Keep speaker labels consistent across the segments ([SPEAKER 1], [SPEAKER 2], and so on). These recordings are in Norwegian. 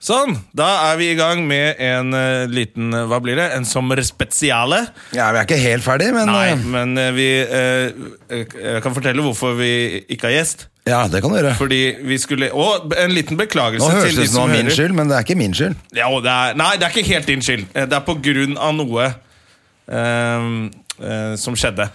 [SPEAKER 1] Sånn, da er vi i gang med en eh, liten eh, Hva blir det? En sommerspesiale.
[SPEAKER 2] Ja, Vi er ikke helt ferdig, men
[SPEAKER 1] Nei,
[SPEAKER 2] eh,
[SPEAKER 1] men eh, vi eh, eh, Jeg kan fortelle hvorfor vi ikke har gjest.
[SPEAKER 2] Ja, det kan du gjøre.
[SPEAKER 1] Fordi vi skulle Og en liten beklagelse
[SPEAKER 2] Nå høres
[SPEAKER 1] til de
[SPEAKER 2] det ut som det
[SPEAKER 1] som
[SPEAKER 2] var min
[SPEAKER 1] hører.
[SPEAKER 2] skyld, men det er ikke min skyld.
[SPEAKER 1] Ja, og det er, nei, det er ikke helt din skyld. Eh, Det er på grunn av noe eh, eh, som skjedde.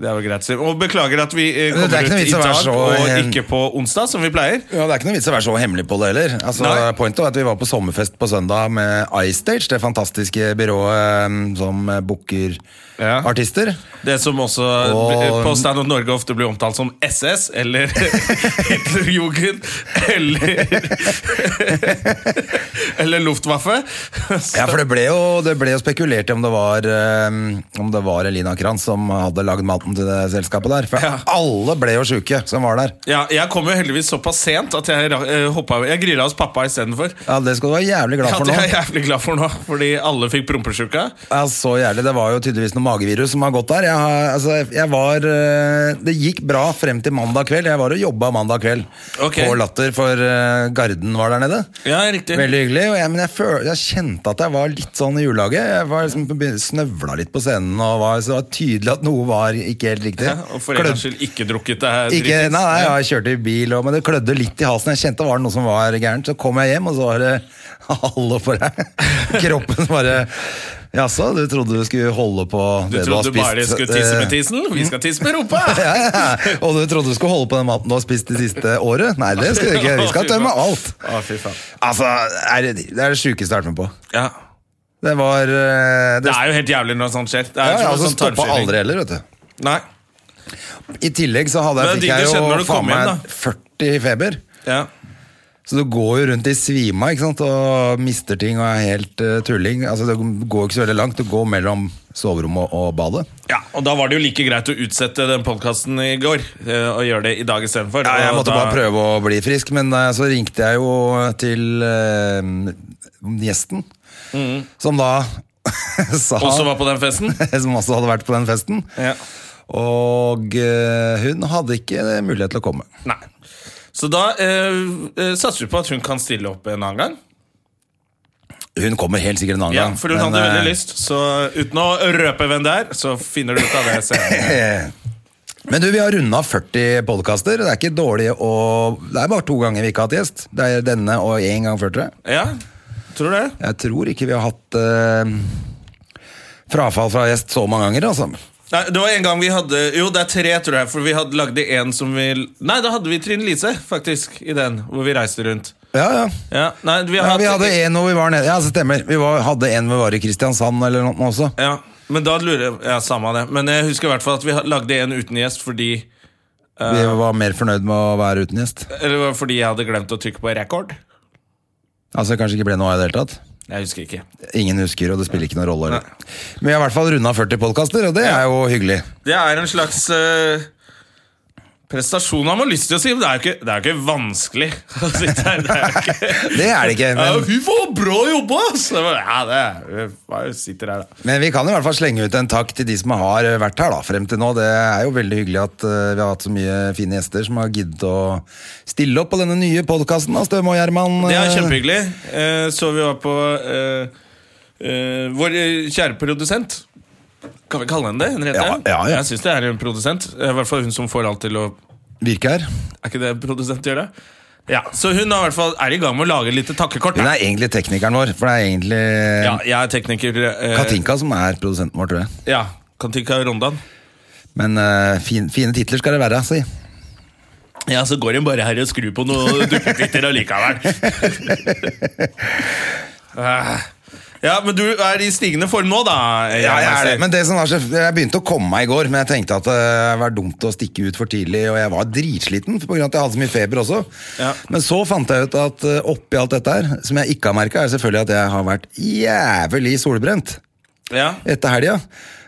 [SPEAKER 1] Det er vel greit. å si. Og beklager at vi eh,
[SPEAKER 2] Det er
[SPEAKER 1] kommer
[SPEAKER 2] ikke
[SPEAKER 1] ut
[SPEAKER 2] noe
[SPEAKER 1] i
[SPEAKER 2] vits å være
[SPEAKER 1] dag
[SPEAKER 2] så,
[SPEAKER 1] og
[SPEAKER 2] eh,
[SPEAKER 1] ikke på onsdag, som vi pleier.
[SPEAKER 2] Ja, Det er ikke noe vits å være så hemmelig på det heller. Altså,
[SPEAKER 1] Nei.
[SPEAKER 2] pointet var at Vi var på sommerfest på søndag med iStage, det fantastiske byrået eh, som eh, booker
[SPEAKER 1] Ja.
[SPEAKER 2] artister.
[SPEAKER 1] Det som også
[SPEAKER 2] Og-
[SPEAKER 1] på Stand Up Norge ofte blir omtalt som SS, eller Hitlerjugend, eller Eller Luftwaffe.
[SPEAKER 2] Ja, for det ble jo, det ble jo spekulert i om det var eh, Om det var Elina Kranz som hadde lagd maten til det selskapet der. For
[SPEAKER 1] Ja.
[SPEAKER 2] alle ble jo sjuke som var der.
[SPEAKER 1] Ja, jeg kom jo heldigvis såpass sent at jeg, uh, jeg grilla hos pappa istedenfor.
[SPEAKER 2] Ja, Det skal du være jævlig glad
[SPEAKER 1] Ja,
[SPEAKER 2] for
[SPEAKER 1] det
[SPEAKER 2] nå.
[SPEAKER 1] er jeg jævlig glad for nå, fordi alle fikk prompesjuka.
[SPEAKER 2] Ja, så jævlig. Det var jo tydeligvis noe magevirus som har gått der. Jeg, har- altså, jeg var, eh, det gikk bra frem til mandag kveld. Jeg var og jobba mandag kveld
[SPEAKER 1] Ok.
[SPEAKER 2] på Latter, for eh, Garden var der nede.
[SPEAKER 1] Ja, riktig.
[SPEAKER 2] Veldig hyggelig. Og jeg, men jeg, føl, jeg kjente at jeg var litt sånn i julelaget. Jeg var liksom, på begyn- snøvla litt på scenen, og var, så det var tydelig at noe var ikke helt riktig.
[SPEAKER 1] Ja, og for en
[SPEAKER 2] Klødd-
[SPEAKER 1] gangs skyld ikke drukket det her.
[SPEAKER 2] ikke,
[SPEAKER 1] drikkes.
[SPEAKER 2] nei, nei, jeg kjørte i bil, og, men det klødde litt i halsen. Jeg kjente det var noe som var gærent. Så kom jeg hjem, og så var det hallo for deg. Kroppen bare Jaså, du trodde du skulle holde på
[SPEAKER 1] Du
[SPEAKER 2] det du har
[SPEAKER 1] trodde
[SPEAKER 2] spist?
[SPEAKER 1] bare jeg skulle tisse med
[SPEAKER 2] Eh,
[SPEAKER 1] tissen? Vi skal tisse med rumpa!
[SPEAKER 2] Ja, ja. Og du trodde du skulle holde på den maten du har spist det siste året? Nei, det skal du ikke. Vi skal tømme alt.
[SPEAKER 1] Å, fy faen.
[SPEAKER 2] Altså, er det, det er det sjukeste jeg har vært med på.
[SPEAKER 1] Ja.
[SPEAKER 2] Det var eh,
[SPEAKER 1] Det
[SPEAKER 2] det,
[SPEAKER 1] er jo helt jævlig når sånt skjer. Det
[SPEAKER 2] ja,
[SPEAKER 1] er
[SPEAKER 2] ja,
[SPEAKER 1] som en
[SPEAKER 2] altså,
[SPEAKER 1] sånn
[SPEAKER 2] Stoppa
[SPEAKER 1] tarmskylling.
[SPEAKER 2] aldri heller, vet du.
[SPEAKER 1] Nei.
[SPEAKER 2] I tillegg så hadde jeg,
[SPEAKER 1] Men det
[SPEAKER 2] fikk
[SPEAKER 1] er digg
[SPEAKER 2] jeg
[SPEAKER 1] det skjedde når
[SPEAKER 2] jo
[SPEAKER 1] du kom
[SPEAKER 2] faen
[SPEAKER 1] hjem,
[SPEAKER 2] meg 40 feber.
[SPEAKER 1] Ja.
[SPEAKER 2] Så du går jo rundt i svima ikke sant? og mister ting og er helt eh, tulling. Altså, det går ikke så veldig langt. Du går mellom soverommet og badet.
[SPEAKER 1] ja, Og da var det jo like greit å utsette den podkasten i går eh, og gjøre det i dag istedenfor.
[SPEAKER 2] Ja, jeg
[SPEAKER 1] Og
[SPEAKER 2] måtte
[SPEAKER 1] da-
[SPEAKER 2] bare prøve å bli frisk, men eh, så ringte jeg jo til eh, gjesten, som da sa
[SPEAKER 1] Også Mm. var på den festen?
[SPEAKER 2] Som også hadde vært på den festen.
[SPEAKER 1] Ja.
[SPEAKER 2] Og eh, hun hadde ikke mulighet til å komme.
[SPEAKER 1] Nei. Så da eh, eh, satser vi på at hun kan stille opp en annen gang.
[SPEAKER 2] Hun kommer helt sikkert en annen
[SPEAKER 1] Ja,
[SPEAKER 2] gang.
[SPEAKER 1] For hun
[SPEAKER 2] men,
[SPEAKER 1] hadde
[SPEAKER 2] eh,
[SPEAKER 1] veldig lyst. Så uten å røpe hvem det er, så finner du ut av det senere.
[SPEAKER 2] Eh, Men du, vi har runda 40 podkaster. Det er ikke dårlig å Det er bare to ganger vi ikke har hatt gjest. Det er denne og én gang før, tror jeg.
[SPEAKER 1] Ja, tror du det?
[SPEAKER 2] Jeg tror ikke vi har hatt eh, frafall fra gjest så mange ganger, altså.
[SPEAKER 1] Nei, det var en gang vi hadde Jo, det er tre, tror jeg. For vi hadde lagde en som vi Nei, da hadde vi Trine Lise, faktisk, i den hvor vi reiste rundt.
[SPEAKER 2] Ja, ja.
[SPEAKER 1] Ja, nei, vi,
[SPEAKER 2] ja
[SPEAKER 1] har
[SPEAKER 2] vi
[SPEAKER 1] hatt-
[SPEAKER 2] hadde en hvor vi var nede. Ja, det stemmer. Vi var, hadde en hvor vi var i Kristiansand eller noe også.
[SPEAKER 1] Ja, men da lurer jeg Ja, samme det. Men jeg husker i hvert fall at vi ha- lagde en uten gjest fordi
[SPEAKER 2] Vi var mer fornøyd med å være uten gjest.
[SPEAKER 1] Eller var det fordi jeg hadde glemt å trykke på rekord.
[SPEAKER 2] Altså, det kanskje ikke ble noe av i det hele tatt.
[SPEAKER 1] Jeg husker ikke.
[SPEAKER 2] Ingen husker, og det spiller ikke noen rolle. heller. Men vi har i hvert fall runda 40 podkaster, og det er jo hyggelig.
[SPEAKER 1] Det er en slags eh, prestasjon han har lyst til å si, men det er jo ikke, det er jo ikke vanskelig å sitte her. Det er jo ikke
[SPEAKER 2] Det er det ikke.
[SPEAKER 1] Ja,
[SPEAKER 2] Men
[SPEAKER 1] Fy faen, bra jobba! ass! Det var- Ja, det er, jeg sitter her, da.
[SPEAKER 2] Men vi kan i hvert fall slenge ut en takk til de som har eh, vært her da, frem til nå. Det er jo veldig hyggelig at eh, vi har hatt så mye fine gjester som har giddet å stille opp på denne nye podkasten av Støme og Gjerman.
[SPEAKER 1] Det er kjempehyggelig. Eh, så vi var på eh, eh, Vår eh, kjære produsent. Kan vi kalle henne det? Henriette?
[SPEAKER 2] Ja, ja, ja.
[SPEAKER 1] Jeg syns det er en produsent. Eh, I hvert fall hun som får alt til å
[SPEAKER 2] Virker her.
[SPEAKER 1] Er ikke det produsent gjør, det? Ja, Så hun er i hvert fall er i gang med å lage litt takkekort.
[SPEAKER 2] Hun er egentlig teknikeren vår, for det er egentlig
[SPEAKER 1] Ja, jeg er tekniker. eh,
[SPEAKER 2] Katinka som er produsenten vår, tror jeg.
[SPEAKER 1] Ja, Katinka Rondan.
[SPEAKER 2] Men eh, fin, fine titler skal det være, si.
[SPEAKER 1] Ja, så går hun bare her og skrur på noen duppetitter allikevel. Ah, Ja, Men du er i stigende form nå, da.
[SPEAKER 2] Ja, jeg er det.
[SPEAKER 1] Men
[SPEAKER 2] Men det som var så, jeg begynte å komme meg i går, men jeg tenkte at eh, det var dumt å stikke ut for tidlig. Og jeg var dritsliten pga. at jeg hadde så mye feber også.
[SPEAKER 1] Ja.
[SPEAKER 2] Men så fant jeg ut at eh, oppi alt dette her, som jeg ikke har merka, er selvfølgelig at jeg har vært jævlig solbrent
[SPEAKER 1] ja.
[SPEAKER 2] etter helga.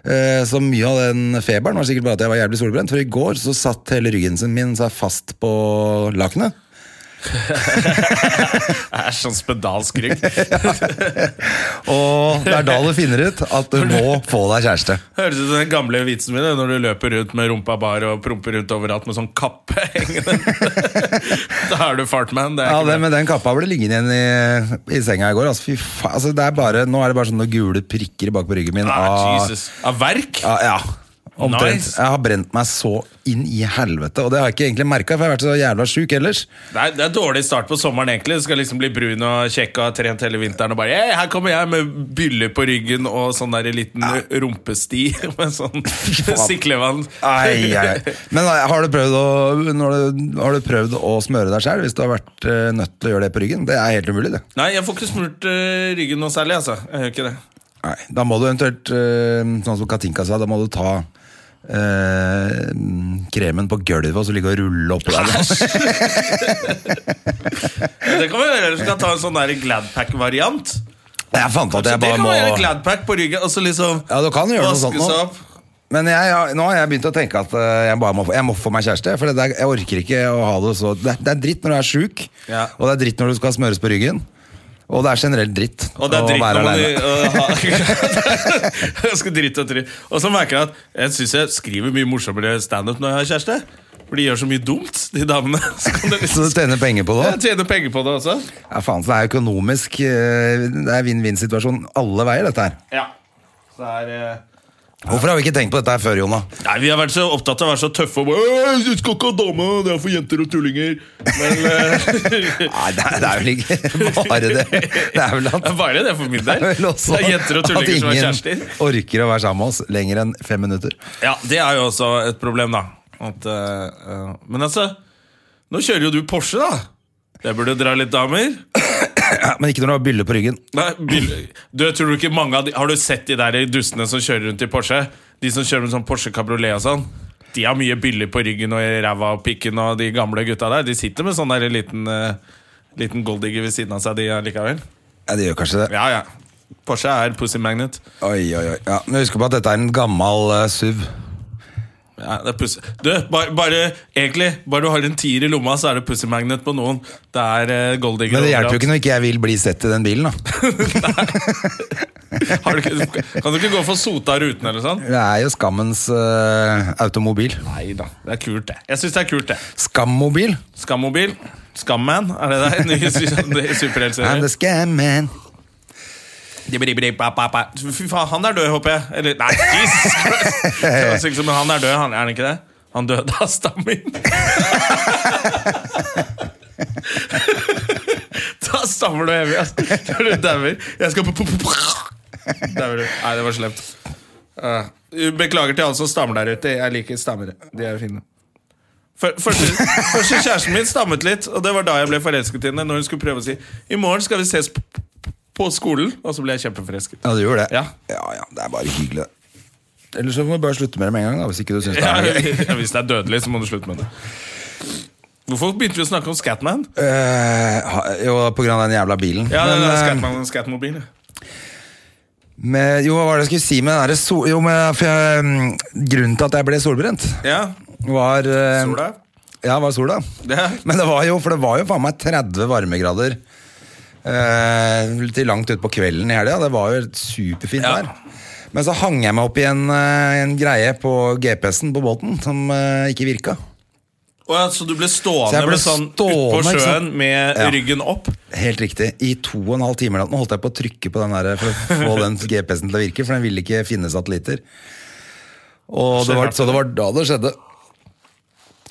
[SPEAKER 2] Eh, Så mye av den feberen var sikkert bare at jeg var jævlig solbrent. For i går så satt hele ryggen sin min seg fast på lakenet.
[SPEAKER 1] Jeg er sånn spedalsk rygg.
[SPEAKER 2] Og det er da du finner ut at du må få deg kjæreste.
[SPEAKER 1] Høres ut som den gamle vitsen min det, når du løper rundt med rumpa bar og promper rundt overalt med sånn kappe hengende. da er du fartman. Det er
[SPEAKER 2] Ja,
[SPEAKER 1] ikke
[SPEAKER 2] det,
[SPEAKER 1] bra.
[SPEAKER 2] men den kappa ble liggende igjen i, i senga i går. Altså, fy faen, altså, det er bare, nå er det bare sånne gule prikker bak på ryggen min.
[SPEAKER 1] Ah,
[SPEAKER 2] av-
[SPEAKER 1] Jesus. Av verk?
[SPEAKER 2] Ja, ja. Omtrent.
[SPEAKER 1] Nice.
[SPEAKER 2] Jeg har brent meg så inn i helvete, og det har jeg ikke egentlig merka, for jeg har vært så jævla sjuk ellers.
[SPEAKER 1] Nei, det er dårlig start på sommeren, egentlig. Du skal liksom bli brun og kjekk og ha trent hele vinteren og bare «Hey, Her kommer jeg med byller på ryggen og sånn der liten rumpesti med sånn
[SPEAKER 2] faen.
[SPEAKER 1] siklevann.
[SPEAKER 2] Ai, ai, ai. Men nei, har du prøvd å, når du, har du prøvd å smøre deg sjøl hvis du har vært eh, nødt til å gjøre det på ryggen? Det er helt umulig, det.
[SPEAKER 1] Nei, jeg får ikke smurt eh, ryggen noe særlig, altså. Jeg gjør ikke det.
[SPEAKER 2] Nei, da må du eventuelt, eh, sånn som Katinka sa, da må du ta eh, kremen på gulvet og så ligge og rulle oppå deg.
[SPEAKER 1] Det kan vi gjøre, eller så kan jeg ta en sånn der Gladpack-variant.
[SPEAKER 2] Jeg fant at jeg
[SPEAKER 1] Så Altså, det
[SPEAKER 2] bare
[SPEAKER 1] kan
[SPEAKER 2] må
[SPEAKER 1] man gjøre Gladpack på ryggen, og så liksom
[SPEAKER 2] Ja, du kan gjøre noe sånt
[SPEAKER 1] vaske seg
[SPEAKER 2] nå.
[SPEAKER 1] opp.
[SPEAKER 2] Men jeg, jeg, nå har jeg begynt å tenke at eh, jeg, bare må, få- jeg må få meg kjæreste. For det der, jeg orker ikke å ha det så Det, er- det er dritt når du er sjuk,
[SPEAKER 1] Ja.
[SPEAKER 2] og det er dritt når du skal smøres på ryggen. Og det er generelt dritt
[SPEAKER 1] Og det
[SPEAKER 2] å
[SPEAKER 1] er dritt
[SPEAKER 2] være
[SPEAKER 1] når man
[SPEAKER 2] alene.
[SPEAKER 1] øh, har- Ganske dritt og dritt. Og så merker jeg at jeg syns jeg skriver mye morsommere standup når jeg har kjæreste. For de gjør så mye dumt, de damene. Så kan det
[SPEAKER 2] Så du
[SPEAKER 1] liksom
[SPEAKER 2] tjener penger på det
[SPEAKER 1] jeg
[SPEAKER 2] òg?
[SPEAKER 1] tjener penger på det også.
[SPEAKER 2] Ja, faen, så det er økonomisk eh, Det er vinn-vinn-situasjon alle veier, dette her.
[SPEAKER 1] Ja. Så det er, eh,
[SPEAKER 2] Hvorfor har vi ikke tenkt på dette her før, Jonna?
[SPEAKER 1] Nei, Vi har vært så opptatt av å være så tøffe og bare «Øh, Du skal ikke ha dame, det er for jenter og tullinger. Men eh,
[SPEAKER 2] Nei, det er, det er vel ikke bare det. Det er vel at
[SPEAKER 1] det er bare det for min del.
[SPEAKER 2] det er vel også
[SPEAKER 1] Det er jenter og
[SPEAKER 2] at
[SPEAKER 1] tullinger som er
[SPEAKER 2] ingen
[SPEAKER 1] kjærester.
[SPEAKER 2] orker å være sammen med oss lenger enn fem minutter.
[SPEAKER 1] Ja, det er jo også et problem, da. At, eh, eh, men altså, nå kjører jo du Porsche, da. Det burde dra litt damer.
[SPEAKER 2] Ja, men ikke når du har bylle på ryggen.
[SPEAKER 1] Nei, bil, du, tror du ikke mange av de, Har du sett de der dustene som kjører rundt i Porsche? De som kjører med sånn Porsche Cabriolet og sånn? De har mye byller på ryggen og i ræva og pikken og de gamle gutta der. De sitter med sånn der liten, eh, liten golddigger ved siden av seg, de allikevel.
[SPEAKER 2] Ja, det gjør kanskje det.
[SPEAKER 1] Ja, ja. Porsche er pussy magnet.
[SPEAKER 2] Oi, oi, oi. Ja, men Husk på at dette er en gammel eh, SUV.
[SPEAKER 1] Ja, det er pussy. Du, bare, bare, egentlig, bare du har en tier i lomma, så er det pussy magnet på noen. Det er eh, golddigger.
[SPEAKER 2] Men det
[SPEAKER 1] overalt.
[SPEAKER 2] hjelper jo ikke når ikke jeg vil bli sett i den bilen. da
[SPEAKER 1] Har du ikke. Kan du ikke gå for sota ruten eller sånn?
[SPEAKER 2] Det er jo skammens eh, automobil.
[SPEAKER 1] Nei da. Det er kult, det. Jeg syns det er kult, det.
[SPEAKER 2] Skammobil?
[SPEAKER 1] Skammobil? Skamman? Er det det? Ny su- det er
[SPEAKER 2] I'm
[SPEAKER 1] superheltserie?
[SPEAKER 2] the scam man.
[SPEAKER 1] Fy faen, han er død, håper jeg. Eller, nei, Jesus Christ! Det høres ikke som- Men han er død, han, er han ikke det? Han døde av stammin. da stammer du evig, altså. Når du dauer. Jeg skal på Dauer du. Nei, det var slemt. Eh, Beklager til alle som stammer der ute. Jeg liker stammere. De er fine. Før- Første, første kjæresten min stammet litt, og det var da jeg ble forelsket i henne. Når hun skulle prøve å si I morgen skal vi ses på, på skolen. Og så ble jeg kjempeforelsket.
[SPEAKER 2] Ja, du gjorde det?
[SPEAKER 1] Ja.
[SPEAKER 2] ja, ja, Det er bare hyggelig, det. Eller så må du bare slutte med det med en gang. da Hvis ikke du synes det
[SPEAKER 1] Ja,
[SPEAKER 2] er gøy.
[SPEAKER 1] hvis det er dødelig, så må du slutte med det. Hvorfor begynte vi å snakke om Scatman?
[SPEAKER 2] Eh, ha- jo, på grunn av den jævla bilen.
[SPEAKER 1] Ja, det
[SPEAKER 2] Men,
[SPEAKER 1] er
[SPEAKER 2] eh,
[SPEAKER 1] Scatman og Scatmobil.
[SPEAKER 2] med, jo, hva var det jeg skulle si med den derre sol... Jo, men for jeg, mm, grunnen til at jeg ble solbrent,
[SPEAKER 1] Ja,
[SPEAKER 2] var eh,
[SPEAKER 1] Sola.
[SPEAKER 2] Ja, var sola.
[SPEAKER 1] Det.
[SPEAKER 2] Men det var jo, for det var jo faen meg 30 varmegrader eh, til langt utpå kvelden i helga. Det var jo superfint
[SPEAKER 1] Ja.
[SPEAKER 2] vær. Men så hang jeg meg opp i en, eh, en greie på GPS-en på båten som eh, ikke virka.
[SPEAKER 1] Å ja, så du ble
[SPEAKER 2] Så
[SPEAKER 1] stående,
[SPEAKER 2] jeg ble
[SPEAKER 1] med sånn
[SPEAKER 2] stående,
[SPEAKER 1] utpå
[SPEAKER 2] ikke
[SPEAKER 1] sjøen
[SPEAKER 2] sant?
[SPEAKER 1] med
[SPEAKER 2] Ja.
[SPEAKER 1] ryggen opp?
[SPEAKER 2] Helt riktig. I to og en halv time eller noe, holdt jeg på å trykke på den der eh, for å få den GPS-en til å virke, for den ville ikke finne satellitter. Og det var, så det var da det skjedde.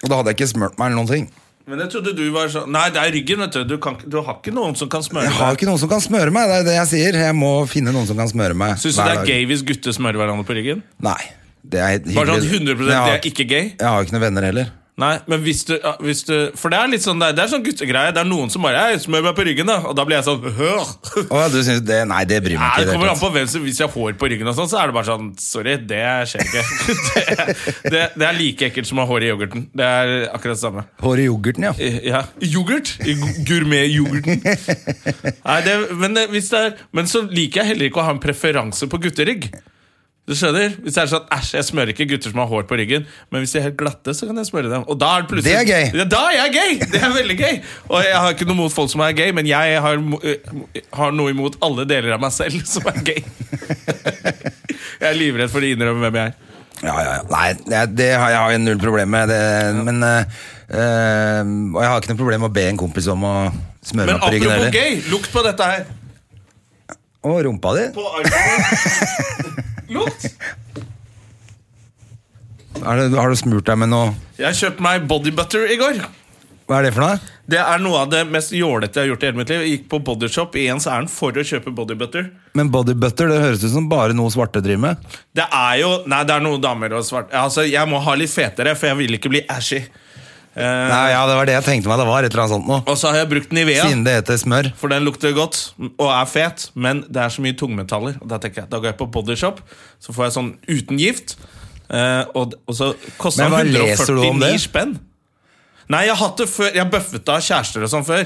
[SPEAKER 2] Og da hadde jeg ikke smurt meg eller noen ting.
[SPEAKER 1] Men jeg trodde du var sånn Nei, det er ryggen, vet du. Du, kan, ikke- du har ikke noen som kan smøre
[SPEAKER 2] Jeg har
[SPEAKER 1] deg.
[SPEAKER 2] ikke noen som kan smøre meg, det er det jeg sier. Jeg må finne noen som kan smøre meg.
[SPEAKER 1] Syns du
[SPEAKER 2] hver
[SPEAKER 1] det er
[SPEAKER 2] dag.
[SPEAKER 1] gay hvis gutter smører hverandre på ryggen?
[SPEAKER 2] Nei. Det er helt
[SPEAKER 1] Bare sånn
[SPEAKER 2] hyggelig. Men
[SPEAKER 1] 100
[SPEAKER 2] jeg
[SPEAKER 1] det
[SPEAKER 2] har
[SPEAKER 1] er ikke gay?
[SPEAKER 2] Jeg har ikke noen venner heller.
[SPEAKER 1] Nei, men hvis du, ja, hvis du For det er litt sånn der, Det er sånn guttegreie. Det er noen som bare «Ei, smør meg på ryggen, da. Og da blir jeg sånn «Hør!»
[SPEAKER 2] Å, du synes det, nei, det bryr
[SPEAKER 1] Nei,
[SPEAKER 2] meg ikke. i
[SPEAKER 1] det
[SPEAKER 2] det
[SPEAKER 1] kommer
[SPEAKER 2] hele
[SPEAKER 1] an på hvem som Hvis jeg har hår på ryggen, og sånn, så er det bare sånn Sorry, det skjer ikke. det, det, det er like ekkelt som å ha hår i yoghurten. Det er akkurat det samme.
[SPEAKER 2] tatt. Hår i yoghurten, ja.
[SPEAKER 1] Eh, Ja, Yoghurt? I gu- Gourmet-yoghurten. Nei, det, men, det, hvis det er, men så liker jeg heller ikke å ha en preferanse på gutterygg. Du skjønner? Hvis det er sånn, æsj, jeg smører ikke gutter som har hår på ryggen, men hvis de er helt glatte, så kan jeg smøre dem. Og da er det plutselig
[SPEAKER 2] Det er gøy.
[SPEAKER 1] Ja, da er jeg gay! Det er veldig gøy. Og jeg har ikke noe mot folk som er gay, men jeg har, mo- eh, har noe imot alle deler av meg selv som er gay. jeg er livredd for å innrømme hvem jeg er.
[SPEAKER 2] Ja, ja, ja. Nei, det- det har jeg, har jeg null problem med. Det, men, eh, eh, og jeg har ikke noe problem med å be en kompis om å smøre
[SPEAKER 1] Men
[SPEAKER 2] meg på ryggen
[SPEAKER 1] apropos
[SPEAKER 2] heller.
[SPEAKER 1] gay, lukt på dette her.
[SPEAKER 2] Og rumpa di.
[SPEAKER 1] På armen. Lukt!
[SPEAKER 2] Er det, har du smurt deg med noe
[SPEAKER 1] Jeg kjøpte meg body butter i går.
[SPEAKER 2] Hva er det for noe?
[SPEAKER 1] Det er noe av det mest jålete jeg har gjort i hele mitt liv. Jeg gikk på Bodyshop i ens ærend for å kjøpe body butter.
[SPEAKER 2] Men body butter, det høres ut som bare noe svarte driver med.
[SPEAKER 1] Det er jo Nei, det er noen damer og svart Altså, jeg må ha litt fetere, for jeg vil ikke bli ashy. Eh,
[SPEAKER 2] Nei, ja, det var det jeg tenkte meg det var. Et eller annet sånt noe.
[SPEAKER 1] og så har jeg brukt Nivea,
[SPEAKER 2] Siden det heter smør.
[SPEAKER 1] for den lukter godt og er fet, men det er så mye tungmetaller. Og Da tenker jeg, da går jeg på Bodyshop, så får jeg sånn uten gift. eh, og, og så koster
[SPEAKER 2] Men hva
[SPEAKER 1] den
[SPEAKER 2] leser du om
[SPEAKER 1] 149
[SPEAKER 2] det?
[SPEAKER 1] spenn. Nei, jeg har hatt det før Jeg har bøffet det av kjærester og sånn før.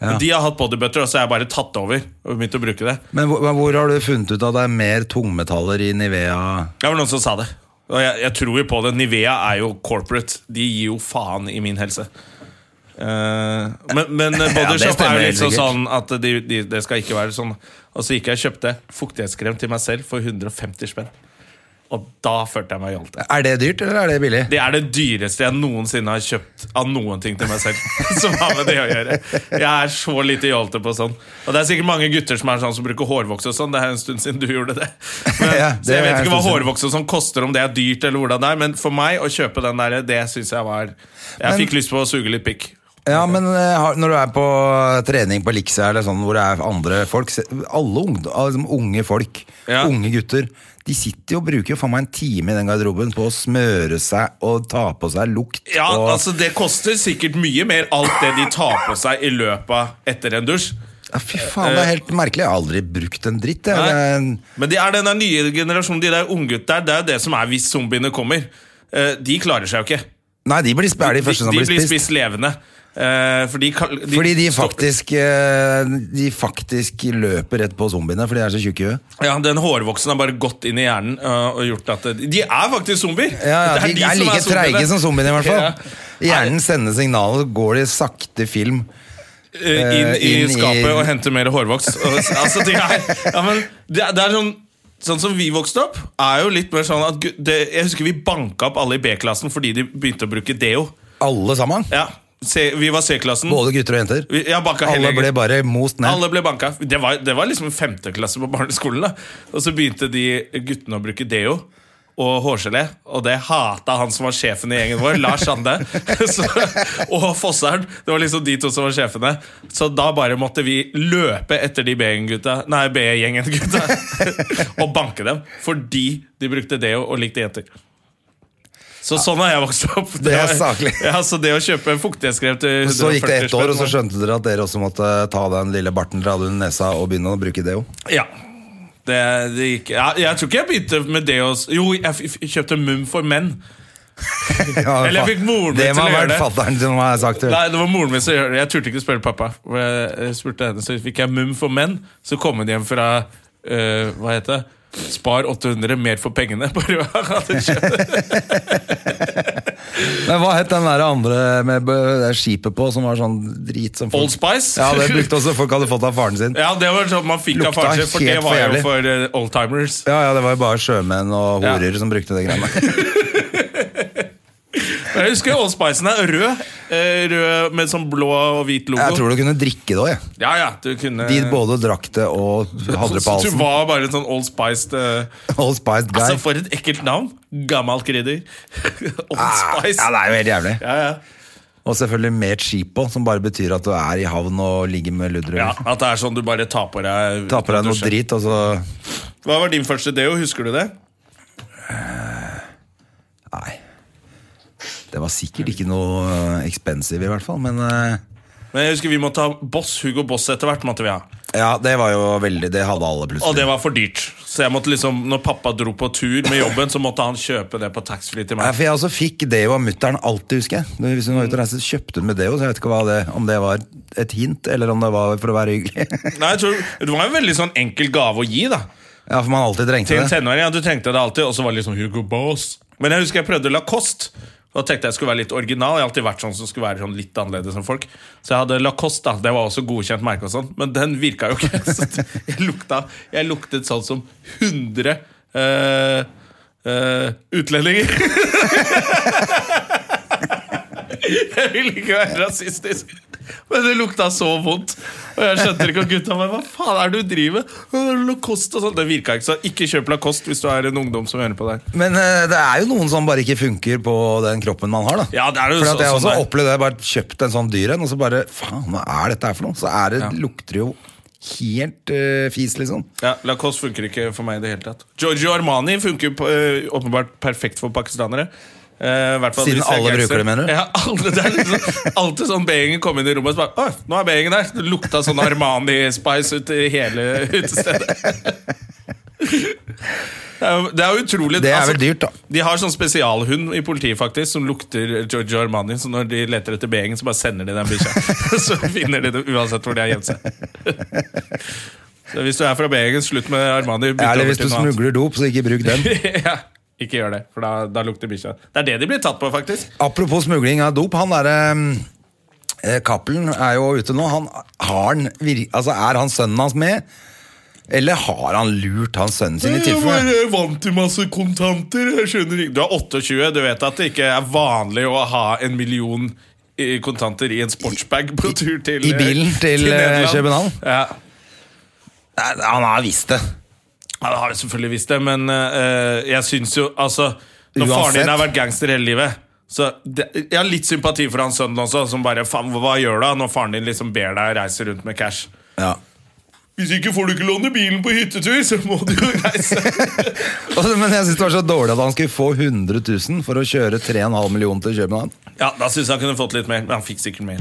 [SPEAKER 1] Men De har hatt bodybutter, og så har jeg bare tatt det over. Og begynt å bruke det
[SPEAKER 2] Men hvor, men hvor har du funnet ut at det er mer tungmetaller i Nivea?
[SPEAKER 1] Det var noen som sa det. Og jeg, jeg tror jo på det. Nivea er jo corporate. De gir jo faen i min helse. Eh, men men
[SPEAKER 2] Ja, det
[SPEAKER 1] Bodyshop
[SPEAKER 2] stemmer
[SPEAKER 1] er jo litt
[SPEAKER 2] helt
[SPEAKER 1] sånn, sånn
[SPEAKER 2] sikkert.
[SPEAKER 1] at det de, det skal ikke være sånn. Og så gikk jeg og kjøpte fuktighetskrem til meg selv for 150 spenn. Og da følte jeg meg jålete.
[SPEAKER 2] Er det dyrt, eller er det billig?
[SPEAKER 1] Det er det dyreste jeg noensinne har kjøpt av noen ting til meg selv. Som har med det å gjøre Jeg er så lite jålete på sånn. Og det er sikkert mange gutter som er sånn som bruker hårvoks og sånn. Det er en stund siden du gjorde det. Men,
[SPEAKER 2] Ja, det
[SPEAKER 1] så jeg
[SPEAKER 2] er
[SPEAKER 1] vet
[SPEAKER 2] en
[SPEAKER 1] ikke hva
[SPEAKER 2] stund siden.
[SPEAKER 1] hårvoks og sånn koster, om det er dyrt eller hvordan det er. Men for meg å kjøpe den der, det syns jeg var Jeg fikk lyst på å suge litt pikk.
[SPEAKER 2] Ja, men eh, har- når du er på trening på Liksa eller sånn, hvor det er andre folk se- Alle unge, liksom unge folk,
[SPEAKER 1] Ja.
[SPEAKER 2] unge gutter, de sitter jo og bruker jo faen meg en time i den garderoben på å smøre seg og ta på seg lukt
[SPEAKER 1] Ja,
[SPEAKER 2] og
[SPEAKER 1] altså Det koster sikkert mye mer, alt det de tar på seg i løpet av etter en dusj.
[SPEAKER 2] ja, Fy faen, det er helt merkelig. Jeg har aldri brukt en dritt. Jeg. Det er en-
[SPEAKER 1] Nei. Men det er den der nye generasjonen, de der unggutta der, det er jo det som er hvis zombiene kommer. Eh, De klarer seg jo ikke.
[SPEAKER 2] Nei, de blir, sp- er de første som
[SPEAKER 1] de
[SPEAKER 2] blir spist.
[SPEAKER 1] spist levende. Eh, For de, kal-
[SPEAKER 2] Fordi de faktisk, eh, de faktisk løper rett på zombiene, for de er så tjukke i huet.
[SPEAKER 1] Ja, Den hårvoksen har bare gått inn i hjernen eh, og gjort at De er faktisk zombier!
[SPEAKER 2] Ja, ja,
[SPEAKER 1] Det
[SPEAKER 2] de, er
[SPEAKER 1] som
[SPEAKER 2] like
[SPEAKER 1] zombiene.
[SPEAKER 2] treige som zombiene, i hvert
[SPEAKER 1] Ja.
[SPEAKER 2] fall. Hjernen sender signaler, så går de sakte film.
[SPEAKER 1] Eh, inn i
[SPEAKER 2] inn i-
[SPEAKER 1] skapet og hente mer hårvoks. Og- altså, det, er, ja, men, det, er- det er sånn Sånn som vi vokste opp, er jo litt mer sånn at gu- det, Jeg husker vi banka opp alle i B-klassen fordi de begynte å bruke deo.
[SPEAKER 2] Alle sammen.
[SPEAKER 1] Ja, C, Vi var C-klassen.
[SPEAKER 2] Både gutter og jenter.
[SPEAKER 1] Vi- ja, banka hele
[SPEAKER 2] Alle ble
[SPEAKER 1] gjengen.
[SPEAKER 2] bare most ned.
[SPEAKER 1] Alle ble banka. Det var, det var liksom en femteklasse på barneskolen. da Og så begynte de guttene å bruke deo og hårgelé, og det hata han som var sjefen i gjengen vår, Lars Sande. Så, og Fossern. Det var liksom de to som var sjefene. Så da bare måtte vi løpe etter de B-gjengen-gutta Nei, B-gjengen-gutta og banke dem. Fordi de brukte deo og likte jenter. Så sånn har jeg vokst opp.
[SPEAKER 2] Det er
[SPEAKER 1] var-
[SPEAKER 2] saklig.
[SPEAKER 1] Ja, så det å kjøpe fuktighetskrem til
[SPEAKER 2] Så gikk det
[SPEAKER 1] 140
[SPEAKER 2] ett år, og så
[SPEAKER 1] spenn var-
[SPEAKER 2] skjønte dere at dere også måtte ta den lille barten, dra den under nesa og begynne å bruke deo.
[SPEAKER 1] Ja. Det, det gikk ja, Jeg tror ikke jeg begynte med det å s- Jo, jeg f- f- kjøpte Mum for menn.
[SPEAKER 2] Ja,
[SPEAKER 1] Eller jeg
[SPEAKER 2] faen.
[SPEAKER 1] fikk moren min
[SPEAKER 2] det
[SPEAKER 1] til
[SPEAKER 2] må
[SPEAKER 1] å
[SPEAKER 2] ha
[SPEAKER 1] gjøre
[SPEAKER 2] vært
[SPEAKER 1] det.
[SPEAKER 2] fatteren som har sagt det.
[SPEAKER 1] Nei, det var moren min som gjorde det. Jeg turte ikke spørre pappa. For Jeg jeg spurte henne, Så fikk jeg Mum for menn. Så kom hun hjem fra eh, Hva heter det? Spar 800, mer for pengene. Bare hva han hadde kjøpt.
[SPEAKER 2] Men hva het den der andre med b- det skipet på, som var sånn drit som folk
[SPEAKER 1] Old Spice.
[SPEAKER 2] Ja, det brukte også folk hadde fått av faren sin.
[SPEAKER 1] Ja, det var sånn man fikk av
[SPEAKER 2] Lukta
[SPEAKER 1] faren sin, for
[SPEAKER 2] helt
[SPEAKER 1] det var
[SPEAKER 2] for
[SPEAKER 1] jo
[SPEAKER 2] jævlig.
[SPEAKER 1] for eh, oldtimers.
[SPEAKER 2] Ja, ja, det var jo bare sjømenn og
[SPEAKER 1] Ja.
[SPEAKER 2] horer som brukte det greiene.
[SPEAKER 1] Men Jeg husker Old Spicen er rød. eh, Rød med sånn blå og hvit logo.
[SPEAKER 2] Jeg tror du kunne drikke det òg, jeg.
[SPEAKER 1] Ja, ja, du kunne
[SPEAKER 2] De både drakk det og hadde det på
[SPEAKER 1] Så Du
[SPEAKER 2] halsen.
[SPEAKER 1] var bare en sånn Old Spiced eh,
[SPEAKER 2] Old Spiced guy.
[SPEAKER 1] Altså, for et ekkelt navn. Gammelt krydder. Old
[SPEAKER 2] Ah,
[SPEAKER 1] Spice.
[SPEAKER 2] ja, det er jo helt jævlig.
[SPEAKER 1] Ja, ja.
[SPEAKER 2] Og selvfølgelig mer cheapo, som bare betyr at du er i havn og ligger med ludre.
[SPEAKER 1] ja, At det er sånn du bare tar på deg
[SPEAKER 2] Ta på deg noe
[SPEAKER 1] dusjer.
[SPEAKER 2] drit, og så
[SPEAKER 1] Hva var din første deo? Husker du det?
[SPEAKER 2] Nei. Det var sikkert ikke noe eh, expensive, i hvert fall. Men eh,
[SPEAKER 1] Men jeg husker vi måtte ha Boss, Hugo Boss etter hvert. måtte vi ha
[SPEAKER 2] ja, det var jo veldig Det hadde alle plutselig.
[SPEAKER 1] Og det var for dyrt. Så jeg måtte liksom, når pappa dro på tur med jobben, så måtte han kjøpe det på taxfree til
[SPEAKER 2] Nei,
[SPEAKER 1] meg.
[SPEAKER 2] for jeg altså fikk Deo av mutter'n alltid, husker jeg. Når- Hvis hun var ute og reiste, så kjøpte hun med Deo. Så jeg vet ikke hva det, om det var et hint, eller om det var for å være hyggelig.
[SPEAKER 1] Nei, jeg tror, Det var en veldig sånn enkel gave å gi, da.
[SPEAKER 2] ja, for man alltid trengte
[SPEAKER 1] Til en
[SPEAKER 2] det.
[SPEAKER 1] tenåring. Ja, du trengte det alltid, og så var det liksom Hugo Boss. Men jeg husker jeg prøvde Lacoste. Da tenkte jeg jeg skulle være litt original. Jeg har alltid vært sånn som skulle være sånn litt annerledes enn folk. Så jeg hadde Lacoste, da. Det var også godkjent merke og sånn. Men den virka jo ikke. Så jeg, lukta, jeg luktet sånn som 100 eh, eh, utlendinger. Jeg ville ikke være rasistisk, men det lukta så vondt. Og jeg skjønte ikke at gutta bare Hva faen er det du driver med? Lacoste og sånn. Det virka ikke, så ikke kjøp Lacoste hvis du er en ungdom som hører på der.
[SPEAKER 2] Men eh, det er jo noen som bare ikke funker på den kroppen man har, da.
[SPEAKER 1] Ja, det er jo
[SPEAKER 2] for at
[SPEAKER 1] så-
[SPEAKER 2] jeg
[SPEAKER 1] sånn
[SPEAKER 2] også
[SPEAKER 1] der.
[SPEAKER 2] opplevde det. Jeg bare kjøpte en sånn dyr en, og så bare Faen, hva er dette her for noe? Så er det,
[SPEAKER 1] Ja.
[SPEAKER 2] lukter det jo helt eh, fis, liksom.
[SPEAKER 1] Ja, Lacoste funker ikke for meg i det hele tatt. Giorgio Armani funker på, eh, åpenbart perfekt for pakistanere. Eh, i hvert fall
[SPEAKER 2] Siden
[SPEAKER 1] hvis jeg er
[SPEAKER 2] alle
[SPEAKER 1] gangster.
[SPEAKER 2] bruker det, mener du?
[SPEAKER 1] Ja, alle, det er liksom, alltid sånn B-gjengen kom inn i rommet og så bare Å, nå er B-gjengen der! Det lukta sånn Armani-spice ut i hele utestedet. Det er jo- det er jo utrolig
[SPEAKER 2] Det er
[SPEAKER 1] altså,
[SPEAKER 2] vel dyrt, da.
[SPEAKER 1] De har sånn spesialhund i politiet faktisk som lukter Giorgio Armani. Så når de leter etter B-gjengen, så bare sender de den bikkja. så finner de det uansett hvor de har gjemt seg. så hvis du er fra B-gjengen, slutt med Armani. bytt
[SPEAKER 2] Eller
[SPEAKER 1] over
[SPEAKER 2] hvis
[SPEAKER 1] til
[SPEAKER 2] du
[SPEAKER 1] noe annet.
[SPEAKER 2] smugler dop, så ikke bruk den.
[SPEAKER 1] ja, ikke gjør det, for da, da lukter bikkja. Det er det de blir tatt på, faktisk.
[SPEAKER 2] Apropos smugling av dop, han derre Cappelen er jo ute nå. Han, har han, vir- altså, er han sønnen hans med? Eller har han lurt han sønnen sin i tilfelle?
[SPEAKER 1] Jeg eh, vant til masse kontanter. Jeg skjønner ikke Du er 28, du vet at det ikke er vanlig å ha en million i kontanter i en sportsbag på tur til
[SPEAKER 2] i bilen til, eh,
[SPEAKER 1] Nederland.
[SPEAKER 2] København?
[SPEAKER 1] Ja.
[SPEAKER 2] Nei, Han har visst det.
[SPEAKER 1] Ja, det har jeg selvfølgelig visst det, men eh, jeg syns jo Altså, når faren
[SPEAKER 2] Uansett.
[SPEAKER 1] din har vært gangster hele livet så det, Jeg har litt sympati for han sønnen også, som bare Faen, hva gjør du da når faren din liksom ber deg reise rundt med cash?
[SPEAKER 2] Ja.
[SPEAKER 1] Hvis ikke får du ikke låne bilen på hyttetur, så må du jo reise.
[SPEAKER 2] Og så- Men jeg synes det var så dårlig at han skulle få 100 000 for å kjøre 3,5 millioner til København.
[SPEAKER 1] ja, da syns jeg han kunne fått litt mer, men han fikk sikkert mer.